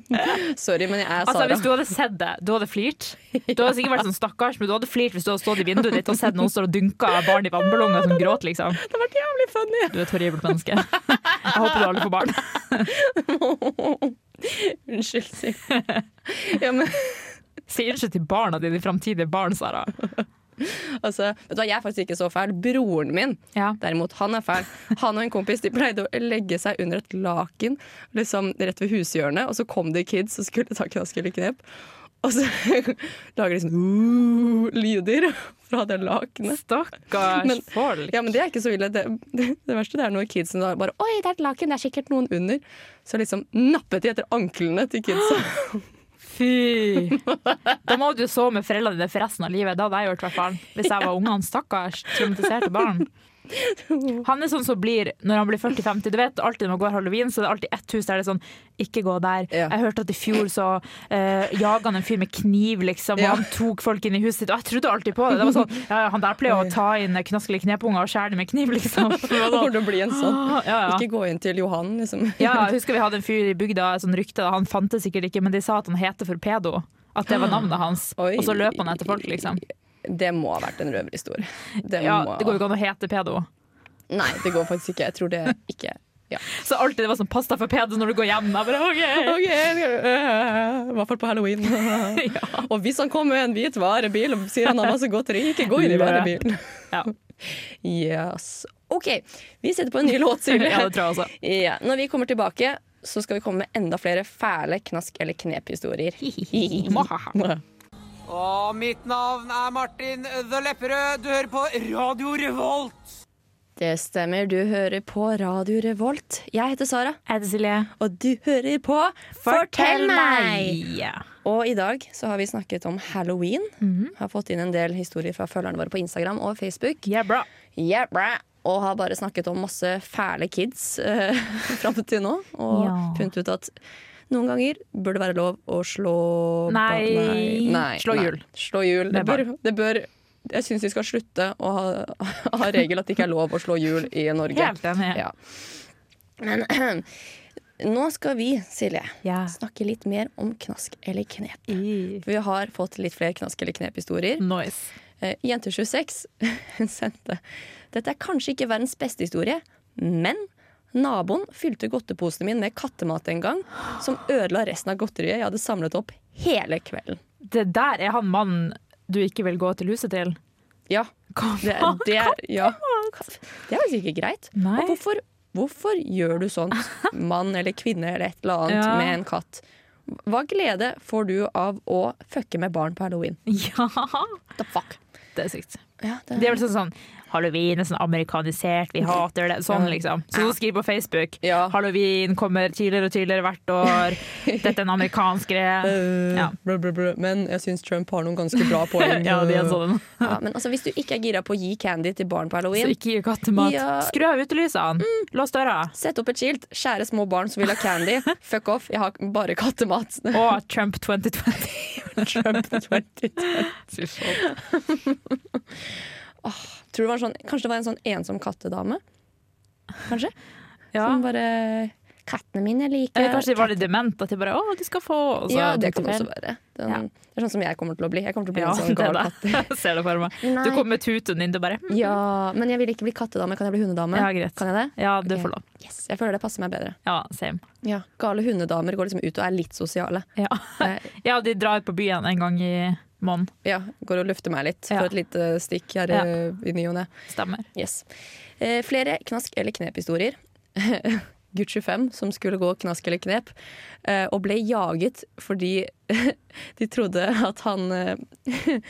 Speaker 1: Sorry, men jeg er
Speaker 2: Altså,
Speaker 1: Sara.
Speaker 2: hvis du hadde sett det, du hadde flirt. Du hadde sikkert vært sånn stakkars, men du hadde flirt hvis du hadde stått i vinduet ditt og sett noen stå og dunke av barn i vannballonger som gråt, liksom.
Speaker 1: Det hadde vært jævlig funny!
Speaker 2: Du er et horribelt menneske. Jeg håper du aldri får barn.
Speaker 1: Unnskyld, Siv. Ja, men
Speaker 2: Si unnskyld til barna dine, de framtidige barn, Sara.
Speaker 1: altså, vet du hva, jeg er faktisk ikke så fæl. Broren min,
Speaker 2: Ja.
Speaker 1: derimot, han er fæl. Han og en kompis de pleide å legge seg under et laken liksom rett ved hushjørnet, og så kom det kids og skulle ta knaskeknep. Og så lager de sånn uh, lyder fra det lakenet.
Speaker 2: Stakkars
Speaker 1: Men-
Speaker 2: folk.
Speaker 1: Ja, men det er ikke så ille. Det, det, det verste det er når kidsen da bare Oi, det er et laken, det er sikkert noen under. Så liksom nappet de etter anklene til kidsa.
Speaker 2: Fy! Da må du sove med foreldrene dine for resten av livet. Det hadde jeg gjort, i hvert fall. Hvis jeg var ungene. Stakkars traumatiserte barn. Han er sånn som blir når han blir 40-50. Du vet alltid når man går halloween, så er det alltid ett hus der det er sånn Ikke gå der.
Speaker 1: Ja.
Speaker 2: Jeg hørte at i fjor så uh, jaga han en fyr med kniv, liksom. Og
Speaker 1: Ja.
Speaker 2: han tok folk inn i huset sitt. Og jeg trodde alltid på det. Det var sånn ja, Han der pleier å ta inn knaskelige knepunger og skjære dem med kniv, liksom.
Speaker 1: Det
Speaker 2: Det var
Speaker 1: kommer
Speaker 2: sånn,
Speaker 1: til å bli en sånn.
Speaker 2: «Ah, ja, ja.
Speaker 1: Ikke gå inn til Johan, liksom.
Speaker 2: Ja, jeg husker vi hadde en fyr i bygda, sånn rykte, han fant det sikkert ikke, men de sa at han heter for pedo. At det var navnet hans.
Speaker 1: Oi.
Speaker 2: Og så løp han etter folk, liksom.
Speaker 1: Det må ha vært en røverhistorie. Det,
Speaker 2: Ja,
Speaker 1: må...
Speaker 2: det går jo ikke an å hete pedo.
Speaker 1: Nei, det går faktisk ikke. Jeg tror det ikke ja.
Speaker 2: Så alltid det var sånn 'pass deg for pedo når du går hjem'. Jeg bare, ok.
Speaker 1: OK, i hvert fall på halloween. Og hvis han kommer med en hvit varebil og sier han har masse godteri, ikke gå inn i varebilen.
Speaker 2: Ja.
Speaker 1: Yes. OK, vi setter på en ny låt, Silje.
Speaker 2: ja, det tror jeg også.
Speaker 1: Ja, når vi kommer tilbake, så skal vi komme med enda flere fæle knask- eller knep-historier.
Speaker 10: Og mitt navn er Martin The Lepperød. Du hører på Radio Revolt.
Speaker 1: Det stemmer, du hører på Radio Revolt. Jeg heter Sara,
Speaker 2: Jeg heter Silje.
Speaker 1: og du hører på
Speaker 2: Ja.
Speaker 1: Og i dag så har vi snakket om halloween.
Speaker 2: Mhm.
Speaker 1: Har fått inn en del historier fra følgerne våre på Instagram og Facebook.
Speaker 2: Ja, bra.
Speaker 1: Yeah, bra. Og har bare snakket om masse fæle kids eh, fram til nå. Og
Speaker 2: Ja.
Speaker 1: funnet ut at noen ganger bør det være lov å slå
Speaker 2: Nei.
Speaker 1: ba- nei, nei,
Speaker 2: Slå
Speaker 1: nei.
Speaker 2: hjul.
Speaker 1: Slå hjul. Det
Speaker 2: Med
Speaker 1: bør, det bør Jeg syns vi skal slutte å ha, ha regel at det ikke er lov å slå hjul i Norge.
Speaker 2: Helt enig.
Speaker 1: Ja. Men nå skal vi, Silje,
Speaker 2: Ja.
Speaker 1: snakke litt mer om knask eller knep.
Speaker 2: I-
Speaker 1: For vi har fått litt flere knask eller knep-historier.
Speaker 2: Nice.
Speaker 1: Eh, Jente26 hun sendte Dette er kanskje ikke verdens beste historie, men naboen fylte godteposen min med kattemat en gang, som ødela resten av godteriet jeg hadde samlet opp hele kvelden.
Speaker 2: Det der er han mannen du ikke vil gå til huset til.
Speaker 1: Ja,
Speaker 2: Hva
Speaker 1: det,
Speaker 2: faen?
Speaker 1: det, er, ja. det er faktisk ikke greit.
Speaker 2: Nei.
Speaker 1: Og hvorfor, hvorfor gjør du sånt, mann eller kvinne eller et eller annet,
Speaker 2: Ja.
Speaker 1: med en katt? Hva glede får du av å fucke med barn på halloween?
Speaker 2: Ja.
Speaker 1: The fuck?
Speaker 2: Det er sykt.
Speaker 1: Ja,
Speaker 2: Det er vel sånn sånn Halloween er sånn amerikanisert, vi hater det. Sånn,
Speaker 1: Ja.
Speaker 2: liksom. Så hun skriver på Facebook
Speaker 1: Ja.
Speaker 2: Halloween kommer tidligere og tidligere hvert år. Dette er en amerikansk greie. Ja.
Speaker 1: Brr, brr, brr. Men jeg syns Trump har noen ganske bra poeng. eh.
Speaker 2: Ja, de er sånn.
Speaker 1: Ja, men altså, hvis du ikke er gira på å gi candy til barn på
Speaker 2: Så
Speaker 1: halloween,
Speaker 2: ikke gi kattemat.
Speaker 1: Ja. Mm.
Speaker 2: Skru av utelysene. Lås døra.
Speaker 1: sett opp et skilt. Kjære små barn som vil ha candy, fuck off, jeg har bare kattemat.
Speaker 2: Og Trump 2020.
Speaker 1: Trump 2010.
Speaker 2: Fy faen.
Speaker 1: Tror du det var en sånn, kanskje det var en sånn ensom kattedame? Kanskje?
Speaker 2: Ja.
Speaker 1: Som bare
Speaker 9: Kattene mine liker
Speaker 2: Eller kanskje de var litt demente. At de bare 'Å, du skal få' og så
Speaker 1: Ja, det kan
Speaker 2: tok de
Speaker 1: det også
Speaker 2: feil.
Speaker 1: være. sånn Den,
Speaker 2: Ja.
Speaker 1: Det er sånn som jeg kommer til å bli. Jeg kommer til å bli
Speaker 2: Ja,
Speaker 1: en sånn
Speaker 2: det
Speaker 1: gal
Speaker 2: er
Speaker 1: katt.
Speaker 2: det. Ser det for meg.
Speaker 9: Nei.
Speaker 2: Du kommer med tuten din, du bare hm.
Speaker 1: Ja, men jeg vil ikke bli kattedame. Kan jeg bli hundedame?
Speaker 2: Ja, greit.
Speaker 1: Kan jeg det?
Speaker 2: Ja, du
Speaker 1: Ok.
Speaker 2: får lov.
Speaker 1: Yes, Jeg føler det passer meg bedre.
Speaker 2: Ja, same.
Speaker 1: Ja. Gale hundedamer går liksom ut og er litt sosiale.
Speaker 2: Ja.
Speaker 1: Jeg,
Speaker 2: ja, de drar ut på byen en gang i måneden.
Speaker 1: ja, går og lufter meg litt
Speaker 2: Ja.
Speaker 1: for et lite stikk her
Speaker 2: Ja.
Speaker 1: eh, i ny og ne.
Speaker 2: Stemmer.
Speaker 1: Yes. Eh, flere knask- eller knep-historier. Gucci 5 som skulle gå knask eller knep, eh, og ble jaget fordi de trodde at han eh,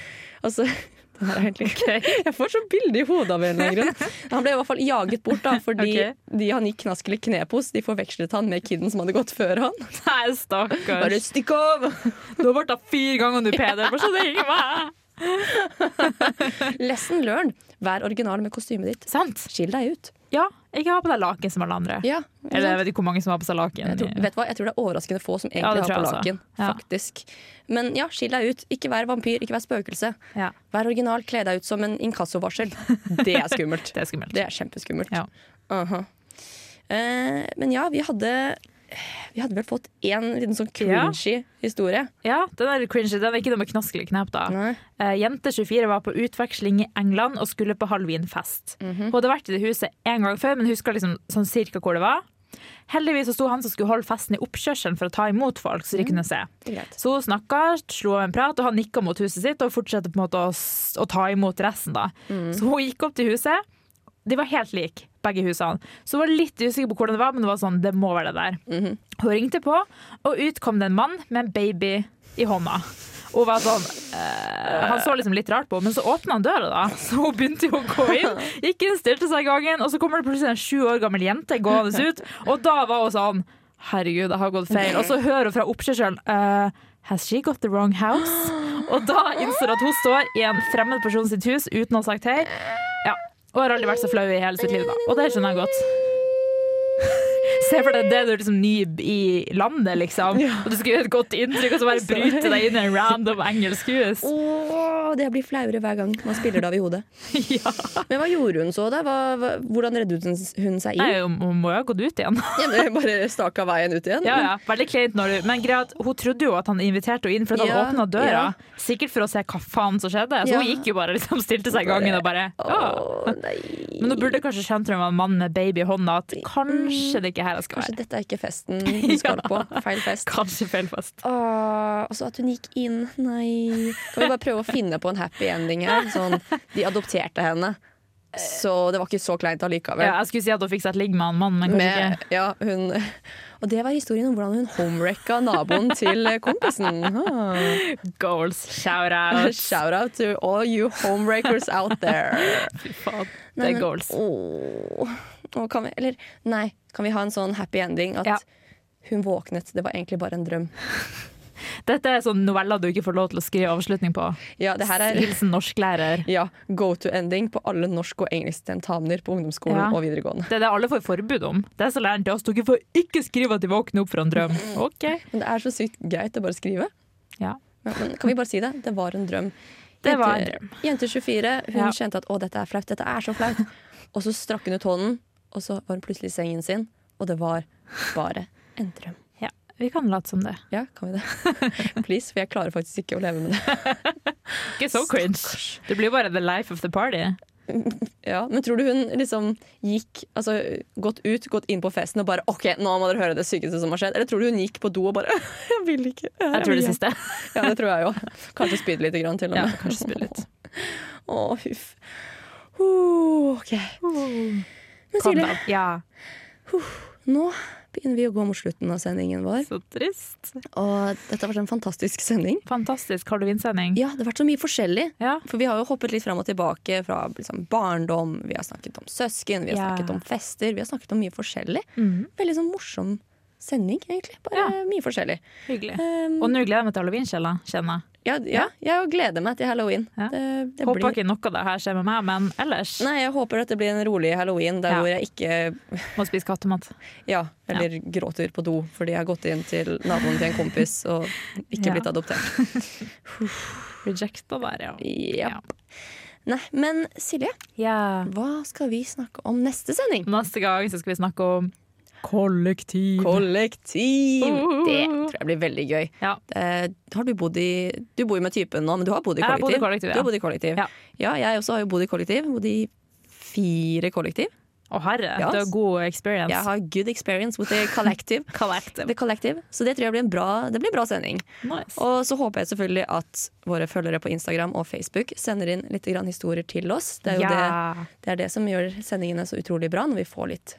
Speaker 1: Altså, det her er egentlig gøy. Jeg får så bilde i hodet av en eller annen grunn. Han ble i hvert fall jaget bort da, fordi
Speaker 2: Ok.
Speaker 1: de han gikk knask eller knep hos, de forvekslet han med kiden som hadde gått før han.
Speaker 2: Nei, stakkars.
Speaker 1: Bare stikk av!
Speaker 2: Du har vært der fire ganger, du, Peder. Bare så det ikke meg.
Speaker 1: Lesson learned. Vær original med kostymet ditt.
Speaker 2: Sant.
Speaker 1: Skill deg ut.
Speaker 2: Ja, ikke ha på deg laken som alle andre.
Speaker 1: Ja, ikke
Speaker 2: Eller
Speaker 1: sant?
Speaker 2: jeg vet ikke hvor mange som har på seg laken.
Speaker 1: Jeg tror, vet du hva? jeg tror det er overraskende få som egentlig
Speaker 2: det
Speaker 1: har
Speaker 2: tror
Speaker 1: på
Speaker 2: jeg også.
Speaker 1: laken.
Speaker 2: Ja.
Speaker 1: Faktisk. Men ja, skill deg ut. Ikke vær vampyr, ikke vær spøkelse.
Speaker 2: Ja,
Speaker 1: Vær original, kle deg ut som en inkassovarsel. Det er skummelt.
Speaker 2: det er skummelt.
Speaker 1: Det er kjempeskummelt.
Speaker 2: Ja.
Speaker 1: Aha. Eh, men ja, vi hadde Vi hadde vel fått én liten sånn
Speaker 2: Ja.
Speaker 1: cringy historie.
Speaker 2: Ja, den er litt cringy. Den er ikke noe med knask eller knep, da.
Speaker 1: Nei.
Speaker 2: Eh, jente 24 var på utveksling i England og skulle på halloweenfest.
Speaker 1: Mhm.
Speaker 2: Hun hadde vært i det huset en gang før, men husker liksom sånn cirka hvor det var. Heldigvis så sto han som skulle holde festen i oppkjørselen for å ta imot folk, så de kunne se.
Speaker 1: Det er Mhm. greit.
Speaker 2: Så hun snakka, slo av en prat, og han nikka mot huset sitt og fortsatte på en måte å, s- å ta imot resten. da.
Speaker 1: Mhm.
Speaker 2: Så hun gikk opp til huset. De var helt like, begge husene. Så hun var litt usikker på hvordan det var, men det var sånn, det må være det der. Hun ringte på, og ut kom det en mann med en baby i hånda. Og hun var sånn, eh, Han så liksom litt rart på henne, men så åpna han døra, da. Så hun begynte jo å gå inn. Gikk inn, stilte seg i gangen, og så kommer det plutselig en sju år gammel jente gående ut. Og da var hun sånn Herregud, jeg har gått feil. Og så hører hun fra oppkjørselen eh, Has she got the wrong house? Og da innser hun at hun står i en fremmed person sitt hus uten å ha sagt hei. Ja, Og har aldri vært så flau i hele sitt liv, da. Og det skjønner jeg godt. Se for deg det, du er liksom ny i landet, liksom. Og du skal gjøre et godt inntrykk, og så bare bryte deg inn i en random engelsk hus.
Speaker 1: Oh. Åh, det blir flauere hver gang man spiller det av i hodet.
Speaker 2: Ja.
Speaker 1: Men hva gjorde hun så, da? Hva, hva, hvordan reddet hun, hun seg
Speaker 2: Nei,
Speaker 1: inn?
Speaker 2: hun må jo ha gått ut igjen.
Speaker 1: Ja, men bare staka veien ut igjen?
Speaker 2: Ja, ja, veldig kleint når du Men greia er at hun trodde jo at han inviterte henne inn fordi han
Speaker 1: Ja,
Speaker 2: åpna døra. Sikkert for å se hva faen som skjedde. Så
Speaker 1: Ja.
Speaker 2: hun gikk jo bare liksom stilte seg i gangen og bare ja.
Speaker 1: Åh, nei.
Speaker 2: Men hun burde kanskje skjønt når hun var en mann med baby i hånda at kanskje det ikke er her jeg skal
Speaker 1: Mm. Kanskje
Speaker 2: være.
Speaker 1: dette er ikke festen hun skal
Speaker 2: Ja.
Speaker 1: på. Feil fest.
Speaker 2: Kanskje feil fest.
Speaker 1: Åh, og så at hun gikk inn. Nei. Kan vi bare prøve å finne på en happy ending her? Sånn, de adopterte henne, så det var ikke så kleint allikevel.
Speaker 2: Ja, jeg skulle si at hun fikk seg et ligg med en mann, men kanskje
Speaker 1: Med, ja, hun, og det var historien om hvordan hun homerekka naboen til eh, kompisen. Ah.
Speaker 2: ikke. Goals. Shout out.
Speaker 1: Shout out to all you homerekkers out there.
Speaker 2: Faen, det
Speaker 1: Nei,
Speaker 2: er
Speaker 1: men-
Speaker 2: goals.
Speaker 1: Åh. Åh, kan vi, eller, nei, kan vi ha en sånn happy ending? At
Speaker 2: Ja.
Speaker 1: hun våknet, det var egentlig bare en drøm.
Speaker 2: Dette er sånn noveller du ikke får lov til å skrive avslutning på.
Speaker 1: Ja, det her er
Speaker 2: Hilsen norsklærer.
Speaker 1: ja, go to ending på alle norsk- og engelsktentamener på ungdomsskolen
Speaker 2: Ja.
Speaker 1: og videregående.
Speaker 2: Det er det alle får forbud om. Det er så læreren til oss. Dere får ikke skrive at de våkner opp fra en drøm. Ok.
Speaker 1: Men det er så sykt greit å bare skrive.
Speaker 2: Ja.
Speaker 1: Men, men kan vi bare si det? Det var en drøm.
Speaker 2: Det var en
Speaker 1: Jente- Jente 24, hun
Speaker 2: Ja.
Speaker 1: kjente at å, dette er flaut, dette er så flaut. Og så strakk hun ut hånden, og så var hun plutselig i sengen sin, og det var bare en drøm.
Speaker 2: Ja, vi kan late som det.
Speaker 1: Ja, kan vi det? Please, for jeg klarer faktisk ikke å leve med det.
Speaker 2: Ikke så cringe. Det blir bare the life of the party.
Speaker 1: Ja, men tror du hun liksom gikk altså, gått ut, gått inn på festen og bare OK, nå må dere høre det sykeste som har skjedd. Eller tror du hun gikk på do og bare Jeg vil ikke.
Speaker 2: Jeg tror det
Speaker 1: vil
Speaker 2: siste.
Speaker 1: Ja, det tror jeg jo. Kanskje spydde lite grann, til og
Speaker 2: Ja,
Speaker 1: med.
Speaker 2: kanskje spydde litt.
Speaker 1: Å, huff. Uh, OK. Men
Speaker 2: Kom
Speaker 1: Silje,
Speaker 2: da. Ja,
Speaker 1: nå begynner vi å gå mot slutten av sendingen vår.
Speaker 2: så trist.
Speaker 1: Og dette har vært en fantastisk sending.
Speaker 2: Fantastisk Halloween-sending.
Speaker 1: Ja, det har vært så mye forskjellig.
Speaker 2: Ja.
Speaker 1: For vi har jo hoppet litt fram og tilbake fra liksom, barndom, vi har snakket om søsken, vi har
Speaker 2: Ja.
Speaker 1: snakket om fester, vi har snakket om mye forskjellig.
Speaker 2: Mhm.
Speaker 1: Veldig sånn morsom sending, egentlig. Bare
Speaker 2: Ja.
Speaker 1: mye forskjellig.
Speaker 2: Hyggelig.
Speaker 1: Um,
Speaker 2: Og nå gleder jeg meg til halloweenkjella, kjenner jeg.
Speaker 1: ja, ja, jeg gleder meg til halloween.
Speaker 2: Ja.
Speaker 1: Det, det
Speaker 2: Håper
Speaker 1: blir...
Speaker 2: ikke noe av det her skjer med meg, men ellers
Speaker 1: Nei, jeg håper dette blir en rolig halloween der
Speaker 2: Ja.
Speaker 1: hvor jeg ikke
Speaker 2: må spise kattemat.
Speaker 1: ja, eller gråter på do fordi jeg har gått inn til naboen til en kompis og ikke
Speaker 2: Ja.
Speaker 1: blitt adoptert.
Speaker 2: Rejecta der, ja.
Speaker 1: Ja. Nei, men Silje,
Speaker 2: Ja.
Speaker 1: hva skal vi snakke om neste sending?
Speaker 2: Neste gang så skal vi snakke om kollektiv.
Speaker 1: Kollektiv!
Speaker 2: Uh.
Speaker 1: Det tror jeg blir veldig gøy.
Speaker 2: Ja.
Speaker 1: Eh, har du bodd i Du bor jo med typen nå, men du har bodd i
Speaker 2: Jeg har bodd
Speaker 1: kollektiv?
Speaker 2: i kollektiv, ja.
Speaker 1: Du har bodd i kollektiv.
Speaker 2: Ja.
Speaker 1: Ja, jeg også har jo bodd i kollektiv. Bodd i fire kollektiv.
Speaker 2: Å herre,
Speaker 1: Ja,
Speaker 2: du har god experience.
Speaker 1: Jeg har good experience with the collective.
Speaker 2: Collective.
Speaker 1: The collective. Så det tror jeg blir en bra, det blir en bra sending.
Speaker 2: Nice.
Speaker 1: Og så håper jeg selvfølgelig at våre følgere på Instagram og Facebook sender inn litt grann historier til oss. Det er jo
Speaker 2: Ja.
Speaker 1: det, det, er det som gjør sendingene så utrolig bra, når vi får litt,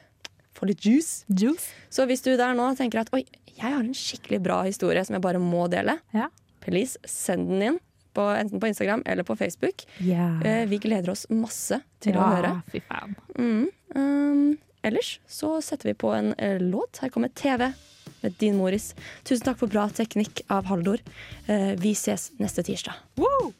Speaker 1: får Få litt juice.
Speaker 2: Juice.
Speaker 1: Så hvis du der nå tenker at oi, jeg har en skikkelig bra historie som jeg bare må dele,
Speaker 2: Ja.
Speaker 1: please send den inn. På, enten på Instagram eller på Facebook. Eh, vi gleder oss masse til å høre.
Speaker 2: Fy faen.
Speaker 1: Mm. Um, ellers så setter vi på en eh, låt. Her kommer TV med Din Moris. Tusen takk for bra teknikk av Haldor. Eh, vi ses neste tirsdag.
Speaker 2: Woo!